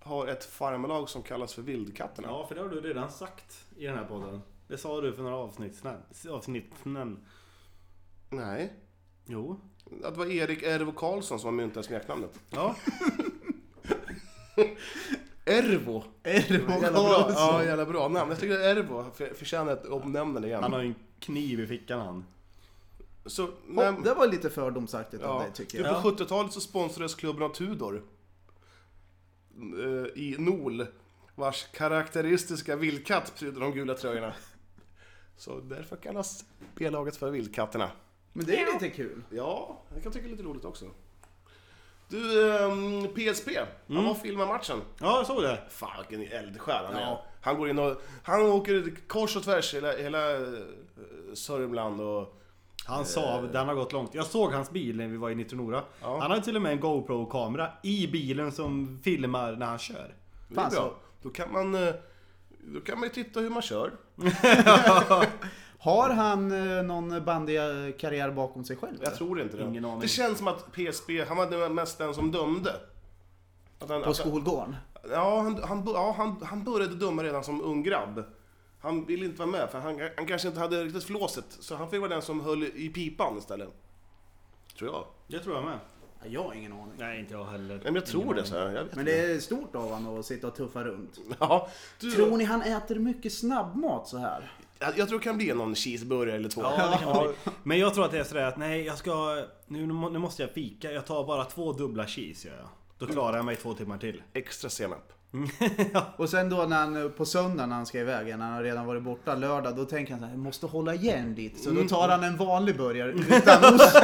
Speaker 3: har ett farmarlag som kallas för Vildkatterna?
Speaker 2: Ja, för det har du redan sagt i den här podden. Det sa du för några avsnitt sen. Avsnitt sen.
Speaker 3: Nej.
Speaker 2: Jo.
Speaker 3: Att det var Erik Ervo Karlsson som var myntade smeknamnet.
Speaker 2: Ja.
Speaker 3: Ervo!
Speaker 4: Ervo
Speaker 3: Jävla bra, ja,
Speaker 4: Karlsson.
Speaker 3: jävla bra namn. Jag tycker att Ervo för- förtjänar ett omnämnande igen.
Speaker 2: Han har ju en kniv i fickan han.
Speaker 3: Så, nej,
Speaker 4: Hopp, Det var lite fördomsaktigt av
Speaker 3: ja.
Speaker 4: dig tycker
Speaker 3: Du,
Speaker 4: jag.
Speaker 3: på
Speaker 2: Ja.
Speaker 3: 70-talet så sponsrades klubben av Tudor. Eh, I Nol. Vars karaktäristiska vildkatt prydde de gula tröjorna. Så därför kallas B-laget för Vildkatterna.
Speaker 4: Men det är lite kul.
Speaker 3: Ja, det kan jag tycka är lite roligt också. Du, ehm, PSP.
Speaker 4: Mm.
Speaker 3: Han var och filmade matchen.
Speaker 2: Ja, jag såg det.
Speaker 3: Fan vilken eldsjäl han är.
Speaker 4: Ja.
Speaker 3: Han går in och... Han åker kors och tvärs hela, hela eh, Sörmland och...
Speaker 2: Han sa att den har gått långt. Jag såg hans bil när vi var i Nitronora.
Speaker 3: Ja.
Speaker 2: Han har till och med en GoPro-kamera i bilen som filmar när han kör.
Speaker 3: Det är
Speaker 4: Fan,
Speaker 3: bra.
Speaker 4: så-
Speaker 3: Då kan man... eh, Då kan man ju titta hur man kör.
Speaker 4: Har han eh, någon bandykarriär bakom sig själv?
Speaker 3: Jag tror inte det.
Speaker 2: Ingen aning.
Speaker 3: Det känns som att PSP, han var den- mest den som dömde. Att han,
Speaker 4: På
Speaker 3: att,
Speaker 4: skolgården?
Speaker 3: ja, han, han, bo- ja han, han började döma redan som ung grabb. Han ville inte vara med, för han, han kanske inte hade riktigt flåset. Så han fick vara den som höll i pipan istället. Tror jag.
Speaker 2: Det tror jag med.
Speaker 4: Ja, Jag har ingen aning.
Speaker 2: Nej, inte jag heller.
Speaker 3: Nej, men jag tror det så här. Jag vet
Speaker 4: Men
Speaker 3: inte.
Speaker 4: det är stort av honom att sitta och tuffa runt.
Speaker 3: Ja, du,
Speaker 4: Tror ni han äter mycket snabbmat så här?
Speaker 3: jag, jag tror det kan bli någon cheeseburgare eller två.
Speaker 2: Ja, det kan bli. Men jag tror att det är sådär att nej, jag ska... Nu, nu måste jag fika. Jag tar bara två dubbla cheese gör jag. Då klarar jag mig två timmar till.
Speaker 3: Extra senap.
Speaker 4: Och sen då när han, på söndag när han ska iväg, när han redan varit borta lördag, då tänker han så här, jag måste hålla igen lite. Så
Speaker 2: Mm.
Speaker 4: då tar han en vanlig burgare utan ost.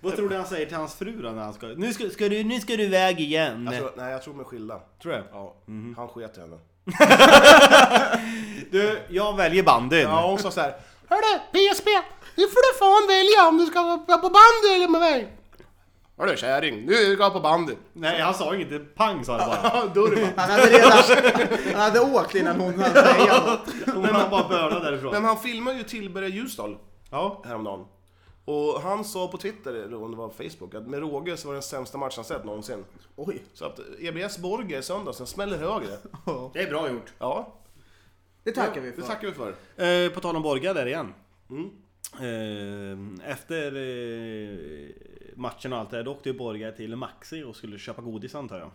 Speaker 2: Vad tror du han säger till hans fru då när han ska... Nu ska, ska, du, nu ska du iväg igen!
Speaker 3: Jag tror, Alltså, nej, jag tror de är skilda. Mm-hmm.
Speaker 2: Tror jag.
Speaker 3: Ja, han sket i henne.
Speaker 2: Du, jag väljer bandyn.
Speaker 3: eh. Ja, hon sa så här.
Speaker 6: Hörru, PSP! Nu får du fan välja om du ska vara på bandy eller med mig!
Speaker 3: Hörru kärring, nu ska jag på bandy.
Speaker 2: Nej, han sa inget. Pang sa han bara.
Speaker 3: Ja, då är det bara-
Speaker 4: Han hade redan han hade åkt innan hon hann säga något.
Speaker 2: Hon har bara bördat
Speaker 3: Nej,
Speaker 2: därifrån.
Speaker 3: men han filmar ju Tillberga Ljusdal
Speaker 2: Ja.
Speaker 3: häromdagen. Och han sa på Twitter, eller om det var Facebook, att med råge så var det den sämsta match han sett någonsin.
Speaker 4: Oj.
Speaker 3: Så att EBS Borger i söndags, den smäller högre.
Speaker 2: Det är bra gjort.
Speaker 3: Ja,
Speaker 4: Det tackar vi
Speaker 3: det
Speaker 4: för.
Speaker 3: tackar vi för.
Speaker 2: Eh, på tal om Borga där igen.
Speaker 3: Mm.
Speaker 2: Eh, efter eh, matchen och allt det där, då åkte ju Borga till Maxi och skulle köpa godis antar jag.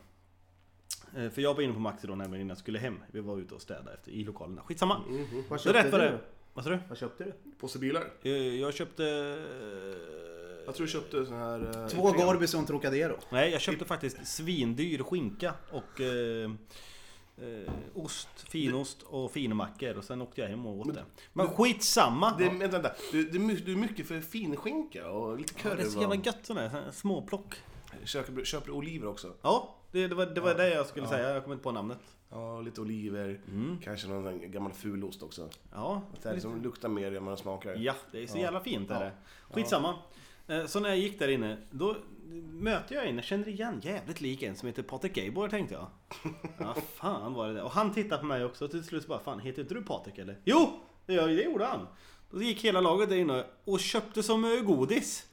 Speaker 2: Eh, för jag var inne på Maxi då nämligen innan jag skulle hem. Vi var ute och städade efter, i lokalerna. Skitsamma.
Speaker 3: Mm-hmm.
Speaker 4: Vad
Speaker 2: Så
Speaker 4: köpte
Speaker 2: rätt var
Speaker 4: du?
Speaker 2: det. Vad sa du?
Speaker 4: Vad köpte du?
Speaker 3: Påse bilar.
Speaker 2: Eh, jag köpte... eh,
Speaker 3: Jag tror jag köpte sån här... eh,
Speaker 4: Två
Speaker 3: Ipren.
Speaker 4: Gorby som Trocadero.
Speaker 2: Nej, jag köpte faktiskt svindyr skinka och... Eh, eh, ost, finost och finmackor och sen åkte jag hem och åt det. Men skitsamma!
Speaker 3: Det, vänta, vänta. Du, det, är my- du är mycket för finskinka och lite
Speaker 2: Ja,
Speaker 3: curry.
Speaker 2: det är så
Speaker 3: va?
Speaker 2: jävla gött sådär, sådär småplock.
Speaker 3: Köper, köper oliver också.
Speaker 2: Ja, det, det var det, var det jag skulle säga. Jag kommer inte på namnet.
Speaker 3: Ja, lite oliver. Kanske någon sån gammal fulost också.
Speaker 2: Ja,
Speaker 3: Så här, som luktar mer än man smakar.
Speaker 2: ja det är så jävla fint är det. Skitsamma. Eh, Så när jag gick där inne, då möter jag en, jag känner igen jävligt lik en som heter Patrik Gabor tänkte jag. Ja, fan var det där? Och han tittade på mig också till slut så bara, fan heter inte du Patrik eller? Jo! Det, gör- det gjorde han. Då gick hela laget där inne och köpte så mycket godis.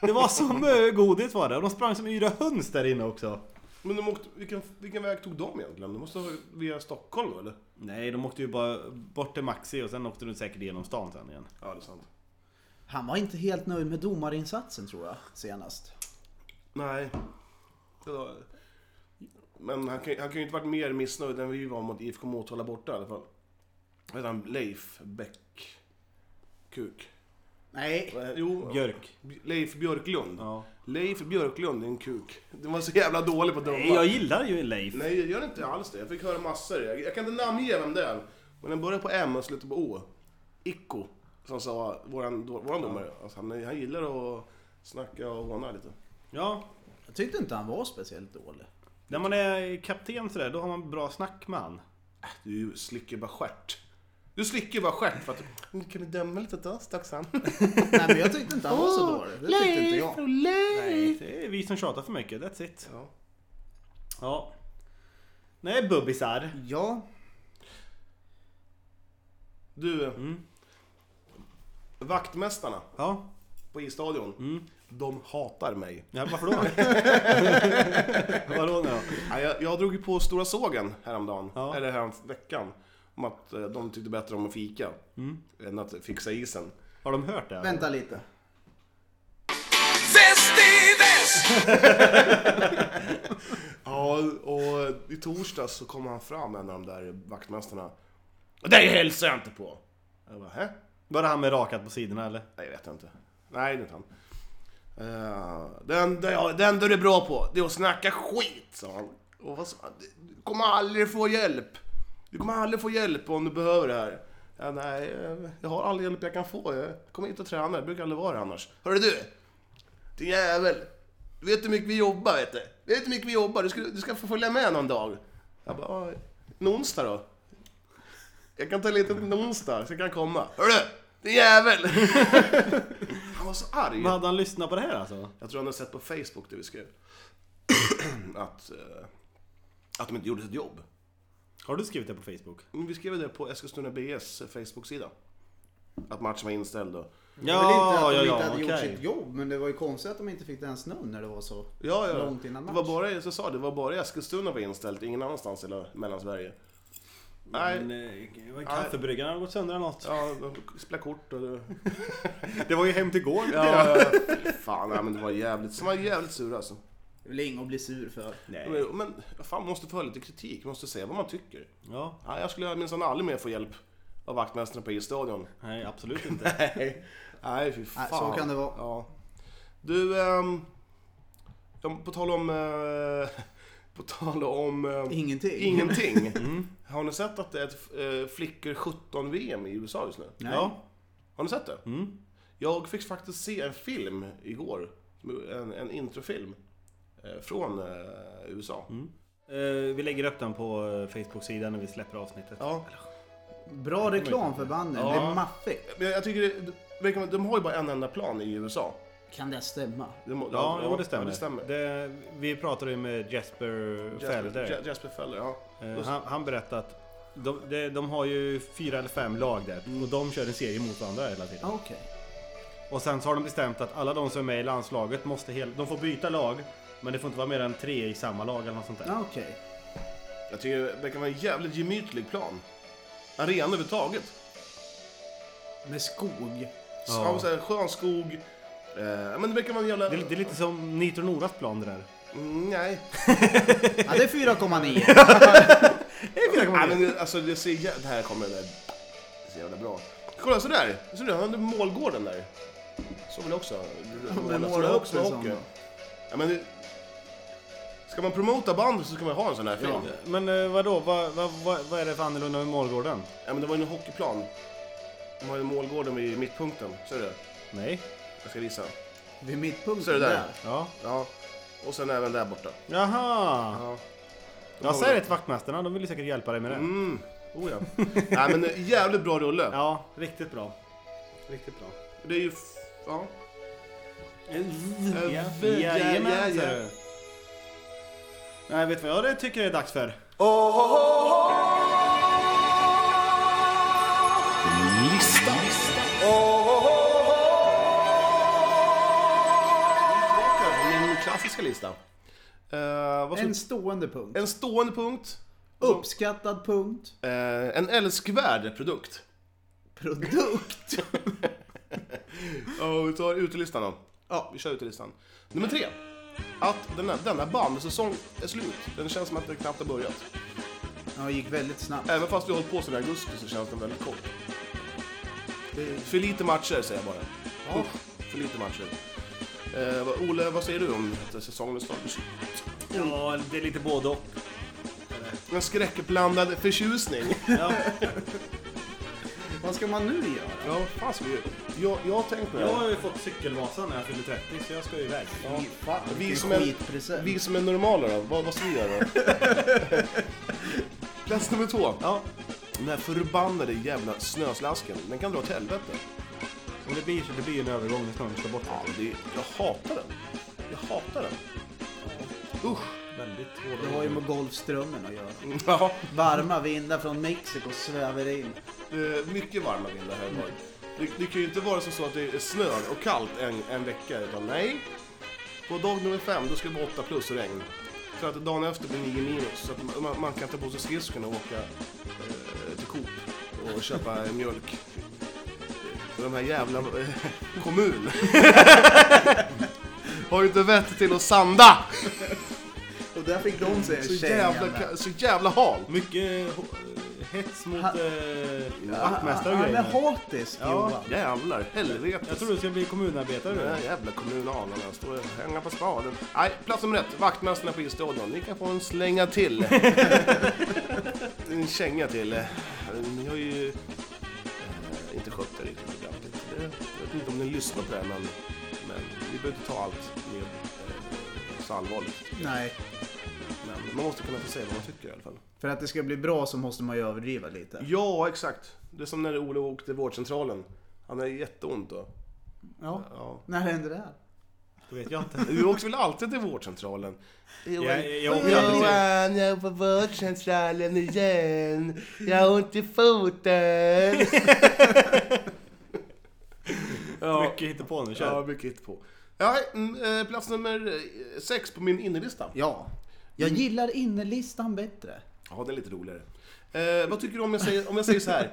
Speaker 2: Det var så mycket godis var det. Och de sprang som yra höns där inne också.
Speaker 3: Men de åkte, vilken, vilken väg tog de egentligen? De måste ha via Stockholm eller?
Speaker 2: Nej, de åkte ju bara bort till Maxi och sen åkte de säkert igenom stan sen igen.
Speaker 3: Ja, det är sant.
Speaker 4: Han var inte helt nöjd med domarinsatsen tror jag, senast.
Speaker 3: Nej. Det var- Men han kan, han kan ju inte varit mer missnöjd än vi var mot IFK Motala borta i alla fall. Vad heter han? Leif Bäck... Kuk.
Speaker 4: Nej,
Speaker 3: Eh, Jo,
Speaker 2: Björk.
Speaker 3: B- Leif Björklund.
Speaker 2: Ja.
Speaker 3: Leif Björklund är en kuk. Den var så jävla dålig på att döma.
Speaker 2: Nej, jag gillar ju Leif.
Speaker 3: Nej, jag gör inte alls det. Jag fick höra massor. Jag, jag kan inte namnge vem det är. Men den börjar på M och slutar på O. Icko. Som sa, våran, då- våran domare. Alltså, han, är- han gillar att snacka och håna lite.
Speaker 2: Ja,
Speaker 4: jag tyckte inte han var speciellt dålig.
Speaker 2: när man är kapten sådär, då har man bra snack med han.
Speaker 3: Du slicker bara stjärt. Du slicker bara stjärt för att... Nu kan vi döma lite åt oss, Taxan.
Speaker 4: Nej men jag tyckte inte han var så dålig. Det tyckte inte jag.
Speaker 3: Leif!
Speaker 2: Det är vi som tjatar för mycket, that's it.
Speaker 3: Ja.
Speaker 2: Ja. Nej, bubbisar.
Speaker 4: Ja,
Speaker 3: Du, vaktmästarna
Speaker 2: Ja.
Speaker 3: på isstadion, de hatar mig.
Speaker 2: ja varför då? Vadå nu då?
Speaker 3: Ja, jag, jag drog ju på stora sågen häromdagen,
Speaker 2: Ja.
Speaker 3: eller häromveckan, om att eh, de tyckte bättre om att fika än att fixa isen.
Speaker 2: Har de hört det?
Speaker 4: vänta lite.
Speaker 1: Väst i väst!
Speaker 3: Ja, och i torsdags så kom han fram, en av de där vaktmästarna. Det hälsar jag inte på! Jag bara, hä?
Speaker 2: Var det han med rakat på sidorna eller?
Speaker 3: Nej, jag vet inte. Nej, det är inte han. Eh, det, enda jag, det enda du är bra på, det är att snacka skit, sa han. Och vad sa han? Du kommer aldrig få hjälp. Du kommer aldrig få hjälp om du behöver det här. Ja, nej, eh, jag har all hjälp jag kan få. Jag kommer hit och tränar, jag brukar aldrig vara det annars. Hörru du! Din jävel! Du vet hur mycket vi jobbar, vet du? Du vet hur mycket vi jobbar, du ska, du ska få följa med någon dag. Jag bara, "Ah, en onsdag då? Jag kan ta lite en onsdag, så jag kan komma. Hörru! Din jävel! Han var så arg.
Speaker 2: Men hade han lyssnat på det här alltså?
Speaker 3: Jag tror han har sett på Facebook det vi skrev. att, eh, att de inte gjorde sitt jobb.
Speaker 2: Har du skrivit det på Facebook?
Speaker 3: Men vi skrev det på Eskilstuna BS Facebook-sida. Att matchen var inställd och...
Speaker 4: Det var väl inte att de inte
Speaker 2: ja, ja,
Speaker 4: hade gjort
Speaker 2: okej.
Speaker 4: sitt jobb, men det var ju konstigt att de inte fick den snön när det var så
Speaker 3: Ja, ja.
Speaker 4: långt innan
Speaker 3: det
Speaker 4: match.
Speaker 3: var bara, jag sa det, det var bara i Eskilstuna var inställt, ingen annanstans i hela Mellansverige.
Speaker 2: Men,
Speaker 3: Nej,
Speaker 2: eh, vad- kaffebryggaren har gått sönder eller något.
Speaker 3: ja, de spelade kort och...
Speaker 2: Det var ju hem till gård.
Speaker 3: Ja, fan, nej, men det var jävligt, de var jävligt sura alltså.
Speaker 4: Det är väl inget att bli sur för.
Speaker 2: Nej.
Speaker 3: Men, men fan, man måste få lite kritik, man måste säga vad man tycker.
Speaker 2: Ja,
Speaker 3: Ja, jag skulle minsann aldrig mer få hjälp av vaktmästaren på isstadion.
Speaker 2: nej absolut inte.
Speaker 3: Nej, nej fy fan.
Speaker 4: Nej, så kan det vara.
Speaker 3: Ja. Du, ehm, ja, på tal om... Eh, på tal om... Eh,
Speaker 4: Ingenting.
Speaker 3: ingenting. Har ni sett att det är ett eh, flickor 17-VM i USA just nu?
Speaker 4: Nej.
Speaker 2: Ja.
Speaker 3: Har ni sett det? Jag fick faktiskt se en film igår. En, en introfilm. Eh, från eh, USA.
Speaker 2: Eh, vi lägger upp den på eh, Facebook-sidan när vi släpper avsnittet.
Speaker 3: Ja.
Speaker 4: Bra reklam för banden, det är maffigt.
Speaker 3: Men jag tycker det, det, verkar som att de har ju bara en enda plan i USA.
Speaker 4: Kan det stämma?
Speaker 3: De, ja,
Speaker 2: Ja, jo, det stämmer.
Speaker 3: Ja, det stämmer.
Speaker 2: Det- vi pratade ju med Jesper Felder.
Speaker 3: Jasper, Jasper Feller, ja.
Speaker 2: Eh, han, han berättade att de, de, de har ju fyra eller fem lag där och de kör en serie mot varandra hela tiden.
Speaker 4: Ja, Okej.
Speaker 2: Och sen så har de bestämt att alla de som är med i landslaget måste hel, de får byta lag men det får inte vara mer än tre i samma lag eller något sånt där.
Speaker 4: Ja, Okej.
Speaker 3: Jag tycker det verkar vara en jävligt gemytlig plan. Arena överhuvudtaget.
Speaker 4: Med skog.
Speaker 3: Ja. Så här, skön skog. Eh, men det verkar vara en jävla...
Speaker 2: Det, är- det är lite som Nitro Noras plan det där.
Speaker 3: Mm, nej.
Speaker 4: Ja, det är 4,9.
Speaker 3: nej men det, alltså, det, ser, jä- det här kommer det där. Det ser jävla bra. Kolla sådär! Ser du? Han under målgården där. Så vill jag också.
Speaker 4: Med
Speaker 3: Måla-
Speaker 4: mål
Speaker 3: hockey.
Speaker 4: också. Som...
Speaker 3: Ja, men det, Ska man promota bandet så ska man ha en sån här film. Ja.
Speaker 2: Men eh, vadå, vad, vad, vad, vad är det för annorlunda med Målgården?
Speaker 3: men det var ju en hockeyplan. De har ju målgården vid mittpunkten. Ser du det?
Speaker 2: Nej.
Speaker 3: Jag ska visa.
Speaker 4: Vid mittpunkten
Speaker 3: Så är
Speaker 4: där.
Speaker 3: det där.
Speaker 2: Ja.
Speaker 3: Ja. Och sen även där borta.
Speaker 2: Jaha!
Speaker 3: Ja.
Speaker 2: Jag säger det till vaktmästarna, de vill ju säkert hjälpa dig med det.
Speaker 3: Mm. Oh ja. Nej men eh, jävligt bra rulle.
Speaker 2: Ja, riktigt bra. Riktigt bra.
Speaker 3: Det är ju... f- Ja.
Speaker 2: Ja,
Speaker 3: ja,
Speaker 2: Jajamän,
Speaker 3: ja, ja.
Speaker 2: sa du. Nej, vet du vad jag det tycker det är dags för?
Speaker 3: Tillbaka i Min klassiska lista. Eh, vad ska
Speaker 4: En stående punkt.
Speaker 3: en stående punkt.
Speaker 4: Uppskattad punkt.
Speaker 3: Eh, en älskvärd produkt.
Speaker 4: Produkt.
Speaker 3: Och vi tar utelistan då.
Speaker 4: Ja.
Speaker 3: Vi kör utelistan. Nummer tre. Att den här, denna bandsäsong är slut. Den känns som att det knappt har börjat.
Speaker 4: Ja, det gick väldigt snabbt.
Speaker 3: Även fast vi har hållit på sedan i augusti så känns den väldigt kort. Det är för lite matcher säger jag bara. Ja. För lite matcher. Eh, vad- Ole, vad säger du om att säsongen är slut?
Speaker 2: Ja, det är lite både och.
Speaker 3: En skräckblandad förtjusning.
Speaker 2: Ja.
Speaker 4: Vad ska man nu göra?
Speaker 3: Ja, fan ska vi Jag, jag har tänkt på det
Speaker 2: Jag
Speaker 3: här.
Speaker 2: har ju fått cykelmasan när jag fyllde 30 så jag ska ju iväg.
Speaker 4: Fy fan,
Speaker 3: Vi
Speaker 4: vilken
Speaker 3: som, är,
Speaker 4: skitpresent.
Speaker 3: vi som är normala då, vad, vad ska vi göra då? Plats nummer två.
Speaker 2: Ja,
Speaker 3: Den här förbannade jävla snöslasken, den kan dra åt helvete.
Speaker 2: och det blir, det blir ju en övergång när snön ska bort.
Speaker 3: Ja, det, jag hatar den. Jag hatar den. Usch.
Speaker 2: Väldigt
Speaker 4: Det
Speaker 2: hårda
Speaker 4: har ju
Speaker 2: ord.
Speaker 4: med Golfströmmen att göra.
Speaker 3: Ja,
Speaker 4: Varma vindar från Mexiko svävar in.
Speaker 3: det är Eh, mycket varma vindar här i Borg. Det, det kan ju inte vara så att det är snö och kallt en, en vecka, utan nej. På dag nummer fem, då ska det vara 8 plus och regn. För att dagen efter blir 9 minus, så att man, man kan ta på sig skridskorna och åka eh, till Coop och köpa eh, mjölk. Och de här jävla eh, kommun har ju inte vett till att sanda!
Speaker 4: Och där fick de sig en
Speaker 3: Så
Speaker 4: känga.
Speaker 3: jävla, ka- så jävla halt!
Speaker 2: Mycket eh, hets mot
Speaker 4: Han-
Speaker 2: eh, vaktmästare
Speaker 4: Han han
Speaker 2: och
Speaker 4: är
Speaker 2: grejer.
Speaker 4: hatisk Johan.
Speaker 3: Jävlar, helvete.
Speaker 2: Jag tror du ska bli kommunarbetare
Speaker 3: Den
Speaker 2: nu.
Speaker 3: här jävla kommunalarna står och hänger på spaden. Nej, plats nummer ett. Vaktmästarna på isstadion. Ni kan få en slänga till. en känga till. Ni har ju eh, inte skött det riktigt ordentligt. Det- Jag vet inte om ni lyssnar på det här, men, men vi behöver inte ta allt med eh, så allvarligt.
Speaker 4: Nej,
Speaker 3: Men man måste kunna få säga vad man tycker i alla fall.
Speaker 4: för att det ska bli bra så måste man ju överdriva lite.
Speaker 3: Ja, exakt. Det är som när Olof åkte till vårdcentralen. Han hade jätteont då.
Speaker 4: Ja.
Speaker 3: Ja.
Speaker 4: När hände det här?
Speaker 2: Det vet jag inte.
Speaker 3: Du åker väl alltid till vårdcentralen?
Speaker 2: Jag, jag åker aldrig
Speaker 4: Eh,
Speaker 3: jag är på vårdcentralen igen. Jag har ont i foten. ja,
Speaker 2: mycket hittepå nu.
Speaker 3: ja,
Speaker 2: Kör.
Speaker 3: mycket hit på. Ja, mm, eh, plats nummer eh, sex på min innerlista.
Speaker 4: Ja.
Speaker 3: typ-
Speaker 4: Jag gillar innerlistan bättre.
Speaker 3: Ja, den är lite roligare. Eh, vad tycker du om jag säger, om jag säger så här?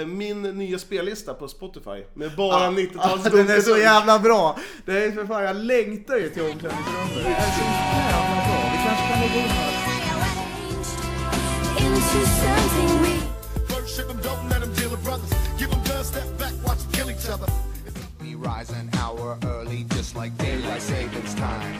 Speaker 3: Eh, min nya spellista på Spotify med bara 90-tals...
Speaker 4: alltså, Den är så jävla bra! Det är för fan, jag längtar ju till omklädningsrummet. Det är så jävla bra. Vi kanske kan lägga in några-
Speaker 7: Into something real.
Speaker 8: Worship them, don't let them deal with brothers. Give them blood, step back, watch them kill each other.
Speaker 9: We rise an hour early, just like daylight savings time.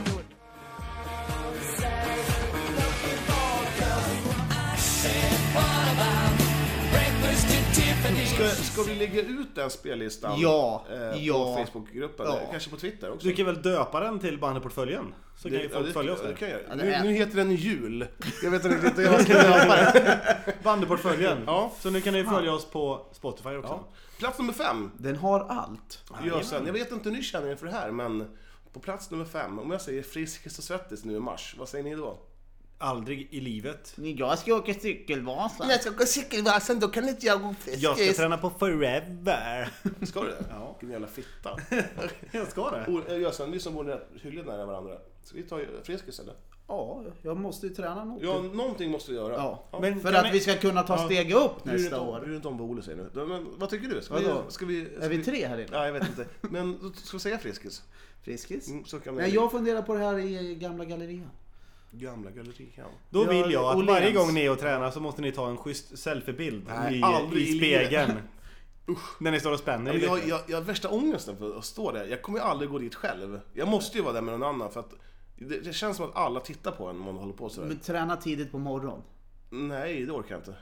Speaker 3: Ska, ska vi lägga ut den spellistan
Speaker 4: Ja,
Speaker 3: eh, på
Speaker 4: ja.
Speaker 3: Facebookgruppen?
Speaker 4: Ja.
Speaker 3: Kanske på Twitter också?
Speaker 2: Du kan väl döpa den till bandyportföljen? Så kan ju
Speaker 3: ja,
Speaker 2: folk följa oss
Speaker 3: det
Speaker 2: där.
Speaker 3: kan jag. göra.
Speaker 4: det
Speaker 3: Nu,
Speaker 4: är-
Speaker 3: nu heter den Jul. Jag vet inte riktigt hur jag ska döpa den.
Speaker 2: Bandyportföljen.
Speaker 3: Ja.
Speaker 2: Så nu kan ni följa oss på Spotify också.
Speaker 3: Plats nummer fem.
Speaker 4: Den har allt.
Speaker 3: Jösen. Jag vet inte hur ni känner er för det här, men på plats nummer fem, om jag säger Friskis och Svettis nu i mars, vad säger ni då?
Speaker 2: Aldrig i livet.
Speaker 4: Jag ska åka cykelvasan.
Speaker 3: ska gå cykelvasan, då kan inte jag gå friskis.
Speaker 2: Jag ska träna på forever.
Speaker 3: Ska du det? Ja. Vilken jävla fitta.
Speaker 2: Jag ska det.
Speaker 3: O- eh, Jösen, vi som bor rätt hyggligt nära varandra. Ska vi ta Friskis eller?
Speaker 4: Ja, jag måste ju träna något.
Speaker 3: Ja, någonting måste vi göra.
Speaker 4: Ja.
Speaker 2: Men
Speaker 4: För
Speaker 2: kan
Speaker 4: att vi ska kunna ta steg upp
Speaker 3: Bryr dig inte
Speaker 4: nästa
Speaker 3: om- Bryr
Speaker 4: år.
Speaker 3: dig inte om vad Olle säger nu. Då- Men, vad tycker du? Ska
Speaker 4: Vadå?
Speaker 3: vi... Ska vi ska
Speaker 4: Är vi tre här inne?
Speaker 3: Nej, jag vet inte. Men då ska vi säga Friskis?
Speaker 4: Friskis?
Speaker 3: Mm, så kan vi-
Speaker 4: Nej, jag funderar på det här i gamla gallerian.
Speaker 3: Gamla gallerian.
Speaker 2: Då
Speaker 4: Ja,
Speaker 2: vill jag att
Speaker 4: Åhléns.
Speaker 2: varje gång ni är och tränar så måste ni ta en schysst selfiebild
Speaker 3: Nej,
Speaker 2: i,
Speaker 3: aldrig i
Speaker 2: i
Speaker 3: livet.
Speaker 2: spegeln. När ni står och spänner
Speaker 3: Men
Speaker 2: i
Speaker 3: jag,
Speaker 2: blicken.
Speaker 3: jag, jag har värsta ångesten för att stå där. Jag kommer ju aldrig gå dit själv. Jag måste ju vara där med någon annan för att det, det känns som att alla tittar på en om man håller på sådär.
Speaker 4: Men träna tidigt på morgonen.
Speaker 3: Nej, det orkar jag inte.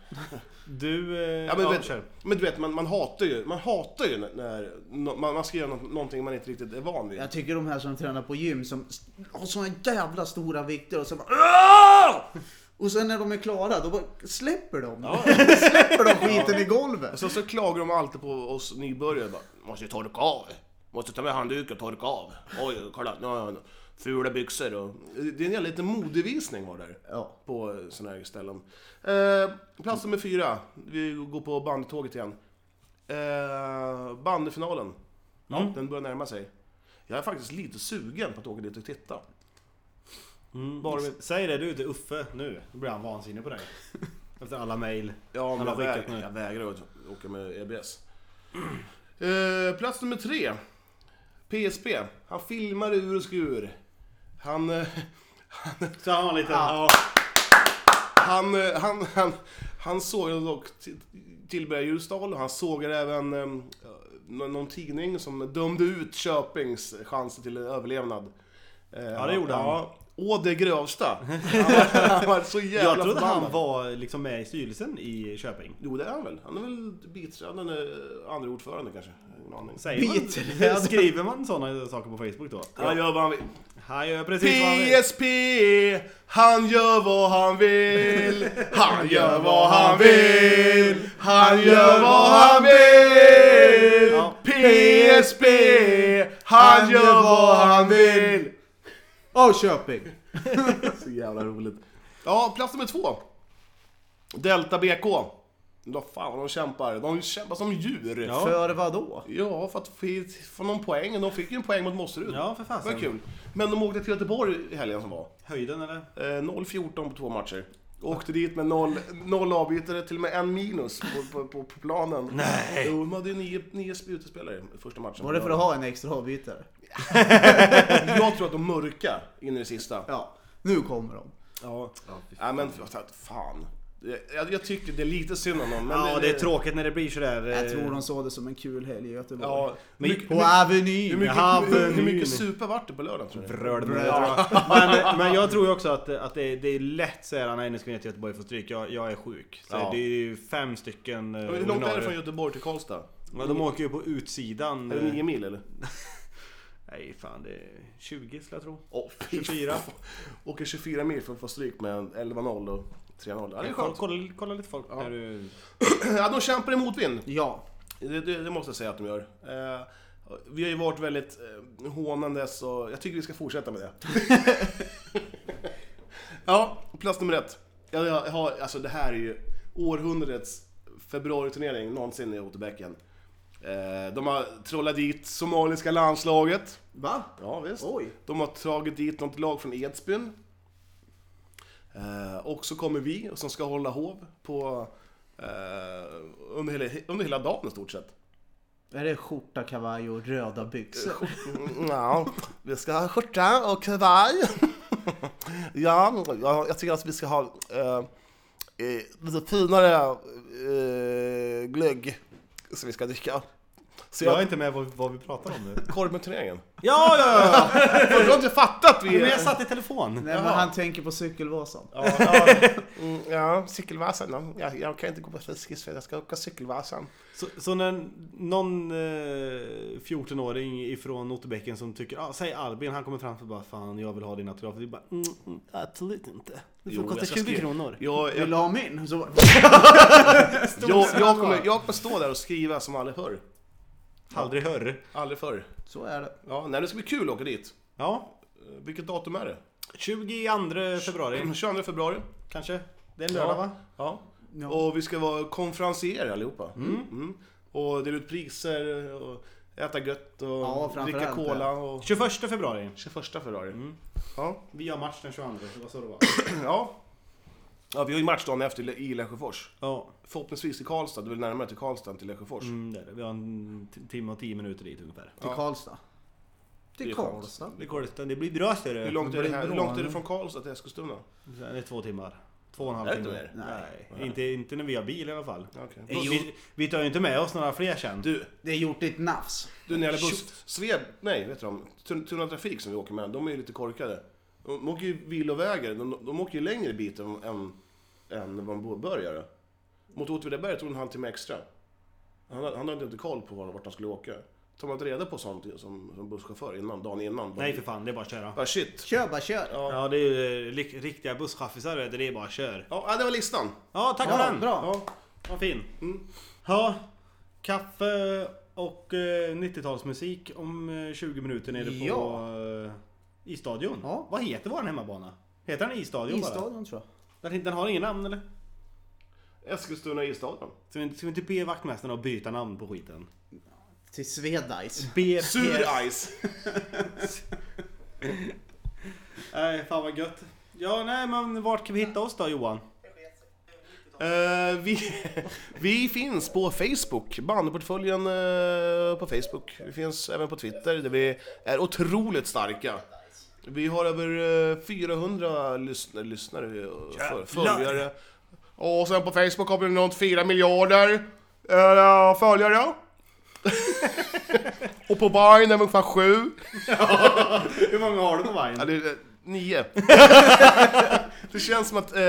Speaker 2: Du... Eh,
Speaker 3: Ja, men, du vet,
Speaker 2: kör.
Speaker 3: men du vet, man, man hatar ju, man hatar ju när, när nå- man, man ska göra nå- någonting man inte riktigt är van vid.
Speaker 4: Jag tycker de här som tränar på gym som s- har såna jävla stora vikter och så bara "Åh!" Och sen när de är klara då bara släpper de. släpper de skiten i golvet.
Speaker 3: Så, så klagar de alltid på oss nybörjare. Bara, måste ju torka av. Måste ta med handduken och torka av. Oj, kolla. Nu har jag fula byxor. Och... Det är en jävla liten modevisning var det där.
Speaker 4: Ja.
Speaker 3: På sådana här ställen. Eh, plats nummer fyra. Vi går på bandtåget igen. Eh, bandyfinalen.
Speaker 2: Mm.
Speaker 3: Den börjar närma sig. Jag är faktiskt lite sugen på att åka dit och titta.
Speaker 2: Bara vi- Säg det du till Uffe nu. Då blir han vansinnig på dig. Efter alla mejl.
Speaker 3: Ja, men
Speaker 2: Han
Speaker 3: jag,
Speaker 2: har skickat
Speaker 3: väg,
Speaker 2: nu.
Speaker 3: jag vägrar att åka med E EBS. Eh, plats nummer tre. PSP. Han filmar ur och skur. Han... eh,
Speaker 2: Så han har lite... Ja.
Speaker 3: Han, eh, han, han, han sågade dock T- Tillberga Ljusdal och han sågade även eh, nå- någon tidning som dömde ut Köpings chanser till överlevnad. Eh,
Speaker 2: Ja, det gjorde han.
Speaker 3: Å det grövsta! Han, han var så jävla
Speaker 2: Jag trodde
Speaker 3: förbannad.
Speaker 2: han var liksom med i styrelsen i Köping.
Speaker 3: Jo, det är han väl. Han är väl biträdande eh, andra ordförande kanske. Ingen aning.
Speaker 2: Säger man, skriver man sådana saker på Facebook då?
Speaker 3: Han gör vad han vill.
Speaker 2: Han gör precis vad han vill.
Speaker 3: PSP, han gör vad han vill. Han gör vad han vill. Han gör vad han vill.
Speaker 2: Ja.
Speaker 3: PSP, han gör vad han vill.
Speaker 4: Åh Köping!
Speaker 3: Så jävla roligt. Ja, plats nummer två. Delta BK. Då fan vad de kämpar. De kämpar som djur. Ja,
Speaker 4: För vadå?
Speaker 3: för att få- få någon poäng. De fick ju en poäng mot Mosserud.
Speaker 2: Ja, för
Speaker 3: Det var
Speaker 2: fasen.
Speaker 3: kul. Men de åkte till Göteborg i helgen som var.
Speaker 2: Höjden eller?
Speaker 3: Eh, 0-14 på två matcher. Åkte dit med noll, noll avbytare, till och med en minus på, på, på, på planen. Nej! Jo, de hade ju nio, nio utespelare i första matchen.
Speaker 4: Var det för att ha en extra avbytare?
Speaker 3: Jag tror att de mörka in i det sista. Ja.
Speaker 4: Ja, nu kommer de.
Speaker 3: ja. men fan. fan. Jag, jag tycker det är lite synd om dem. Men eh,
Speaker 2: Ja, det är tråkigt när det blir sådär... eh,
Speaker 4: Jag tror de såg det som en kul helg i Göteborg.
Speaker 3: Ja,
Speaker 2: Men-
Speaker 3: mycket,
Speaker 4: På Avenyn!
Speaker 3: hur, mycket,
Speaker 2: Jaha,
Speaker 3: hur, hur
Speaker 2: men-
Speaker 3: mycket super vart det på lördagen tror du?
Speaker 2: Bröd, men, men jag tror ju också att, att det, det är lätt så här, nej nu ska vi ner till Göteborg för stryk, jag, jag är sjuk. Så
Speaker 3: Ja.
Speaker 2: Det är ju fem stycken eh,
Speaker 3: Hur långt är det
Speaker 2: ordinarie.
Speaker 3: från Göteborg till Karlstad?
Speaker 2: Ja, de åker ju på utsidan.
Speaker 3: Är det
Speaker 2: eh,
Speaker 3: nio mil eller?
Speaker 2: Nej fan det är 20 skulle jag tro.
Speaker 3: Åh, fy
Speaker 2: 24.
Speaker 3: fan. Åker 24 mil för att få stryk med en 11-0 och 3-0. Ja, det är
Speaker 2: Kolla,
Speaker 3: skönt.
Speaker 2: kolla, kolla lite folk när du...
Speaker 3: Ja, de kämpar i motvind.
Speaker 4: Ja,
Speaker 3: Det, det, det måste jag säga att de gör. Eh, vi har ju varit väldigt eh, hånandes och jag tycker vi ska fortsätta med det. ja, plats nummer ett. Jag, jag har, alltså det här är ju århundradets februariturnering någonsin i Otterbäcken. Eh, de har trollat dit somaliska landslaget.
Speaker 4: va?
Speaker 3: Ja, visst.
Speaker 4: Oj.
Speaker 3: De har tagit dit något lag från Edsbyn. Eh, och så kommer vi som ska hålla hov på, eh, under, hela, under hela dagen i stort sett.
Speaker 4: Är det skjorta, kavaj och röda byxor?
Speaker 3: Ja, vi ska ha skjorta och kavaj. ja, ja, jag tycker att vi ska ha eh, eh, lite finare eh, glögg som vi ska dricka. Så
Speaker 2: Jag är
Speaker 3: jag,
Speaker 2: inte med vad, vad vi pratar om nu.
Speaker 3: korv med turneringen.
Speaker 2: Ja, ja, ja!
Speaker 3: Du har inte fattat! Vi,
Speaker 2: Men jag satt i telefon.
Speaker 4: Nej men han tänker på cykelvasan.
Speaker 3: Ja, ja, mm, ja cykelvasan då. Jag, jag kan inte gå på Friskis för jag ska åka cykelvasan.
Speaker 2: Så, så när någon eh, 14-åring ifrån Otterbäcken som tycker, ah, säg Albin, han kommer fram och bara Fan jag vill ha din autograf. Och du bara, mm, mm, absolut inte. Det
Speaker 3: Jo,
Speaker 2: får kosta
Speaker 3: jag ska
Speaker 2: 20
Speaker 3: skriva-
Speaker 2: kronor.
Speaker 3: Jag,
Speaker 4: Vill
Speaker 3: jag,
Speaker 4: du ha min? Så...
Speaker 3: jag, jag, kommer, jag kommer stå där och skriva som aldrig förr.
Speaker 2: Aldrig hörr.
Speaker 3: Aldrig förr.
Speaker 4: så är det.
Speaker 3: Ja, nej, det ska bli kul att åka dit.
Speaker 2: Ja,
Speaker 3: Eh, Vilket datum är det?
Speaker 2: 22 februari
Speaker 3: 22 februari.
Speaker 2: kanske. Det är en lördag va?
Speaker 3: Ja.
Speaker 4: Ja.
Speaker 3: Och vi ska vara konferencier allihopa. Mm. Och dela ut priser och äta gött och
Speaker 4: Ja, framför
Speaker 3: dricka
Speaker 4: allt det.
Speaker 3: cola. Och
Speaker 2: 21 februari.
Speaker 3: 21 februari. Ja.
Speaker 2: Vi har match den 22, det var så det var.
Speaker 3: ja. Ja, vi har ju match dagen efter i Lesjöfors.
Speaker 2: Ja,
Speaker 3: Förhoppningsvis i Karlstad, det är väl närmare till Karlstad än till Lesjöfors.
Speaker 2: mm, det är det. Vi har en t- timme och 10 minuter dit ungefär.
Speaker 4: Till Karlstad.
Speaker 3: Det
Speaker 4: Till
Speaker 3: är skönt.
Speaker 4: Karlstad.
Speaker 2: Det går lite, det blir bra ser
Speaker 3: Hur
Speaker 2: du.
Speaker 3: långt, är det,
Speaker 4: blir
Speaker 3: här? Hur
Speaker 4: bra,
Speaker 3: långt är det
Speaker 4: eller?
Speaker 3: från Karlstad till Eskilstuna?
Speaker 2: Sen är det två timmar. Två och en halv
Speaker 3: Är det
Speaker 2: timme.
Speaker 3: inte
Speaker 2: Nej, inte, inte när vi har bil i alla fall.
Speaker 3: Okej.
Speaker 2: Vi, vi tar ju inte med oss några fler sen.
Speaker 3: Du,
Speaker 4: Det är gjort i ett nafs.
Speaker 3: du när det gäller buss... Sved... Nej, vet du de? Tun- Tunna Trafik som vi åker med, de är ju lite korkade. De, de åker ju vilovägar, de, de åker ju längre bit än, än än vad en båtbörjare. Mot Åtvidaberg tog det en halvtimme extra. Han, hade- han hade inte koll på var- vart han skulle åka. Tar man inte reda på sånt som, som busschaufför innan, dagen innan? bara-
Speaker 2: Nej för fan, det är bara att köra.
Speaker 3: Ah, shit.
Speaker 4: Kör bara kör!
Speaker 2: Ja det är ju eh, lik- riktiga busschaffisar vet du, det är bara kör.
Speaker 3: Ja, ah, det var listan.
Speaker 2: Ja tack för
Speaker 4: Ja, Mm.
Speaker 2: den!
Speaker 4: bra!
Speaker 2: Vad fin. Ja, kaffe och eh, 90-talsmusik om eh, 20 minuter nere på
Speaker 4: Ja.
Speaker 2: eh, isstadion.
Speaker 4: Ja.
Speaker 2: Vad heter vår hemmabana? Heter den isstadion bara?
Speaker 4: Isstadion tror jag.
Speaker 2: Den, den har ingen namn eller?
Speaker 3: Eskilstuna isstadion.
Speaker 2: Ska vi, inte- ska vi inte be vaktmästaren att byta namn på skiten?
Speaker 4: Till Svedais.
Speaker 2: Be
Speaker 3: Sur ice.
Speaker 2: Nej, fan vad gött. Ja, nej men vart kan vi hitta oss då Johan?
Speaker 3: Eh, vi, vi finns på Facebook, bandyportföljen eh, på Facebook. Vi finns även på Twitter där vi är otroligt starka. Vi har över eh, 400 lyssn- lyssnare, eh, för, följare. Och sen på Facebook har vi runt 4 miljarder eh, följare. Och på Vine är vi ungefär 7.
Speaker 2: Hur många har du på Vine?
Speaker 3: Eller eh, 9. Det känns som att eh,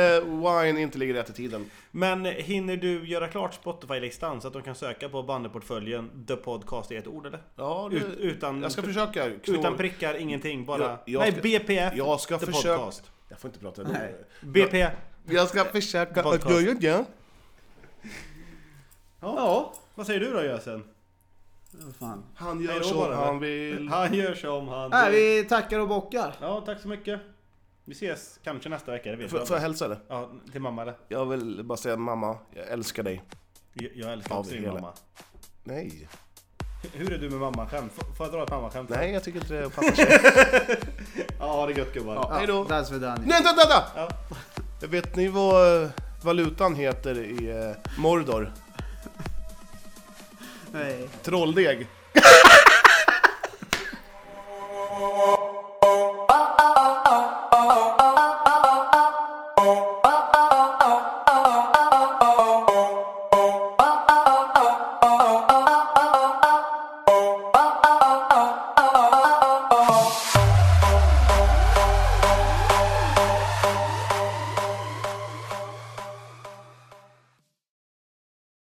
Speaker 3: Wine inte ligger rätt i tiden.
Speaker 2: Men hinner du göra klart Spotify-listan så att de kan söka på bandeportföljen The Podcast i ett ord eller?
Speaker 3: Ja, det-
Speaker 2: Ut, utan,
Speaker 3: Jag ska försöka. knå-
Speaker 2: utan prickar, ingenting bara.
Speaker 3: Jag- jag
Speaker 2: nej,
Speaker 3: ska-
Speaker 2: BPF
Speaker 3: Jag ska
Speaker 2: The
Speaker 3: försöka...
Speaker 2: Podcast.
Speaker 3: Jag får inte prata nu.
Speaker 2: BP.
Speaker 3: Jag ska försöka...
Speaker 2: Podcast.
Speaker 3: Gör jag det?
Speaker 2: Ja, vad säger du då Jösen?
Speaker 4: Vad fan.
Speaker 3: Han
Speaker 2: Hej
Speaker 3: gör
Speaker 2: då
Speaker 3: som
Speaker 2: bara,
Speaker 3: han vill.
Speaker 2: Han gör som han
Speaker 4: Nej,
Speaker 2: vill.
Speaker 4: vi tackar och bockar.
Speaker 2: Ja, tack så mycket. Vi ses kanske nästa vecka, det vet
Speaker 3: Får
Speaker 2: jag
Speaker 3: får jag
Speaker 2: inte.
Speaker 3: hälsa eller?
Speaker 2: Ja, till mamma eller?
Speaker 3: Jag vill bara säga mamma, jag älskar dig.
Speaker 2: Jag jag älskar
Speaker 3: Av
Speaker 2: också din
Speaker 3: hela-
Speaker 2: mamma.
Speaker 3: Nej.
Speaker 2: Hur är du med mammaskämt? Får- Får jag dra ett mammaskämt?
Speaker 3: Nej, jag tycker inte det passar sig.
Speaker 2: Ja, ha det gött gubbar.
Speaker 3: Ja, hej då.
Speaker 4: Ja, That's Vedani.
Speaker 3: Nej, vänta, vänta!
Speaker 2: Ja.
Speaker 3: Vet ni vad eh, valutan heter i eh, Mordor?
Speaker 4: Nej.
Speaker 3: Trolldeg.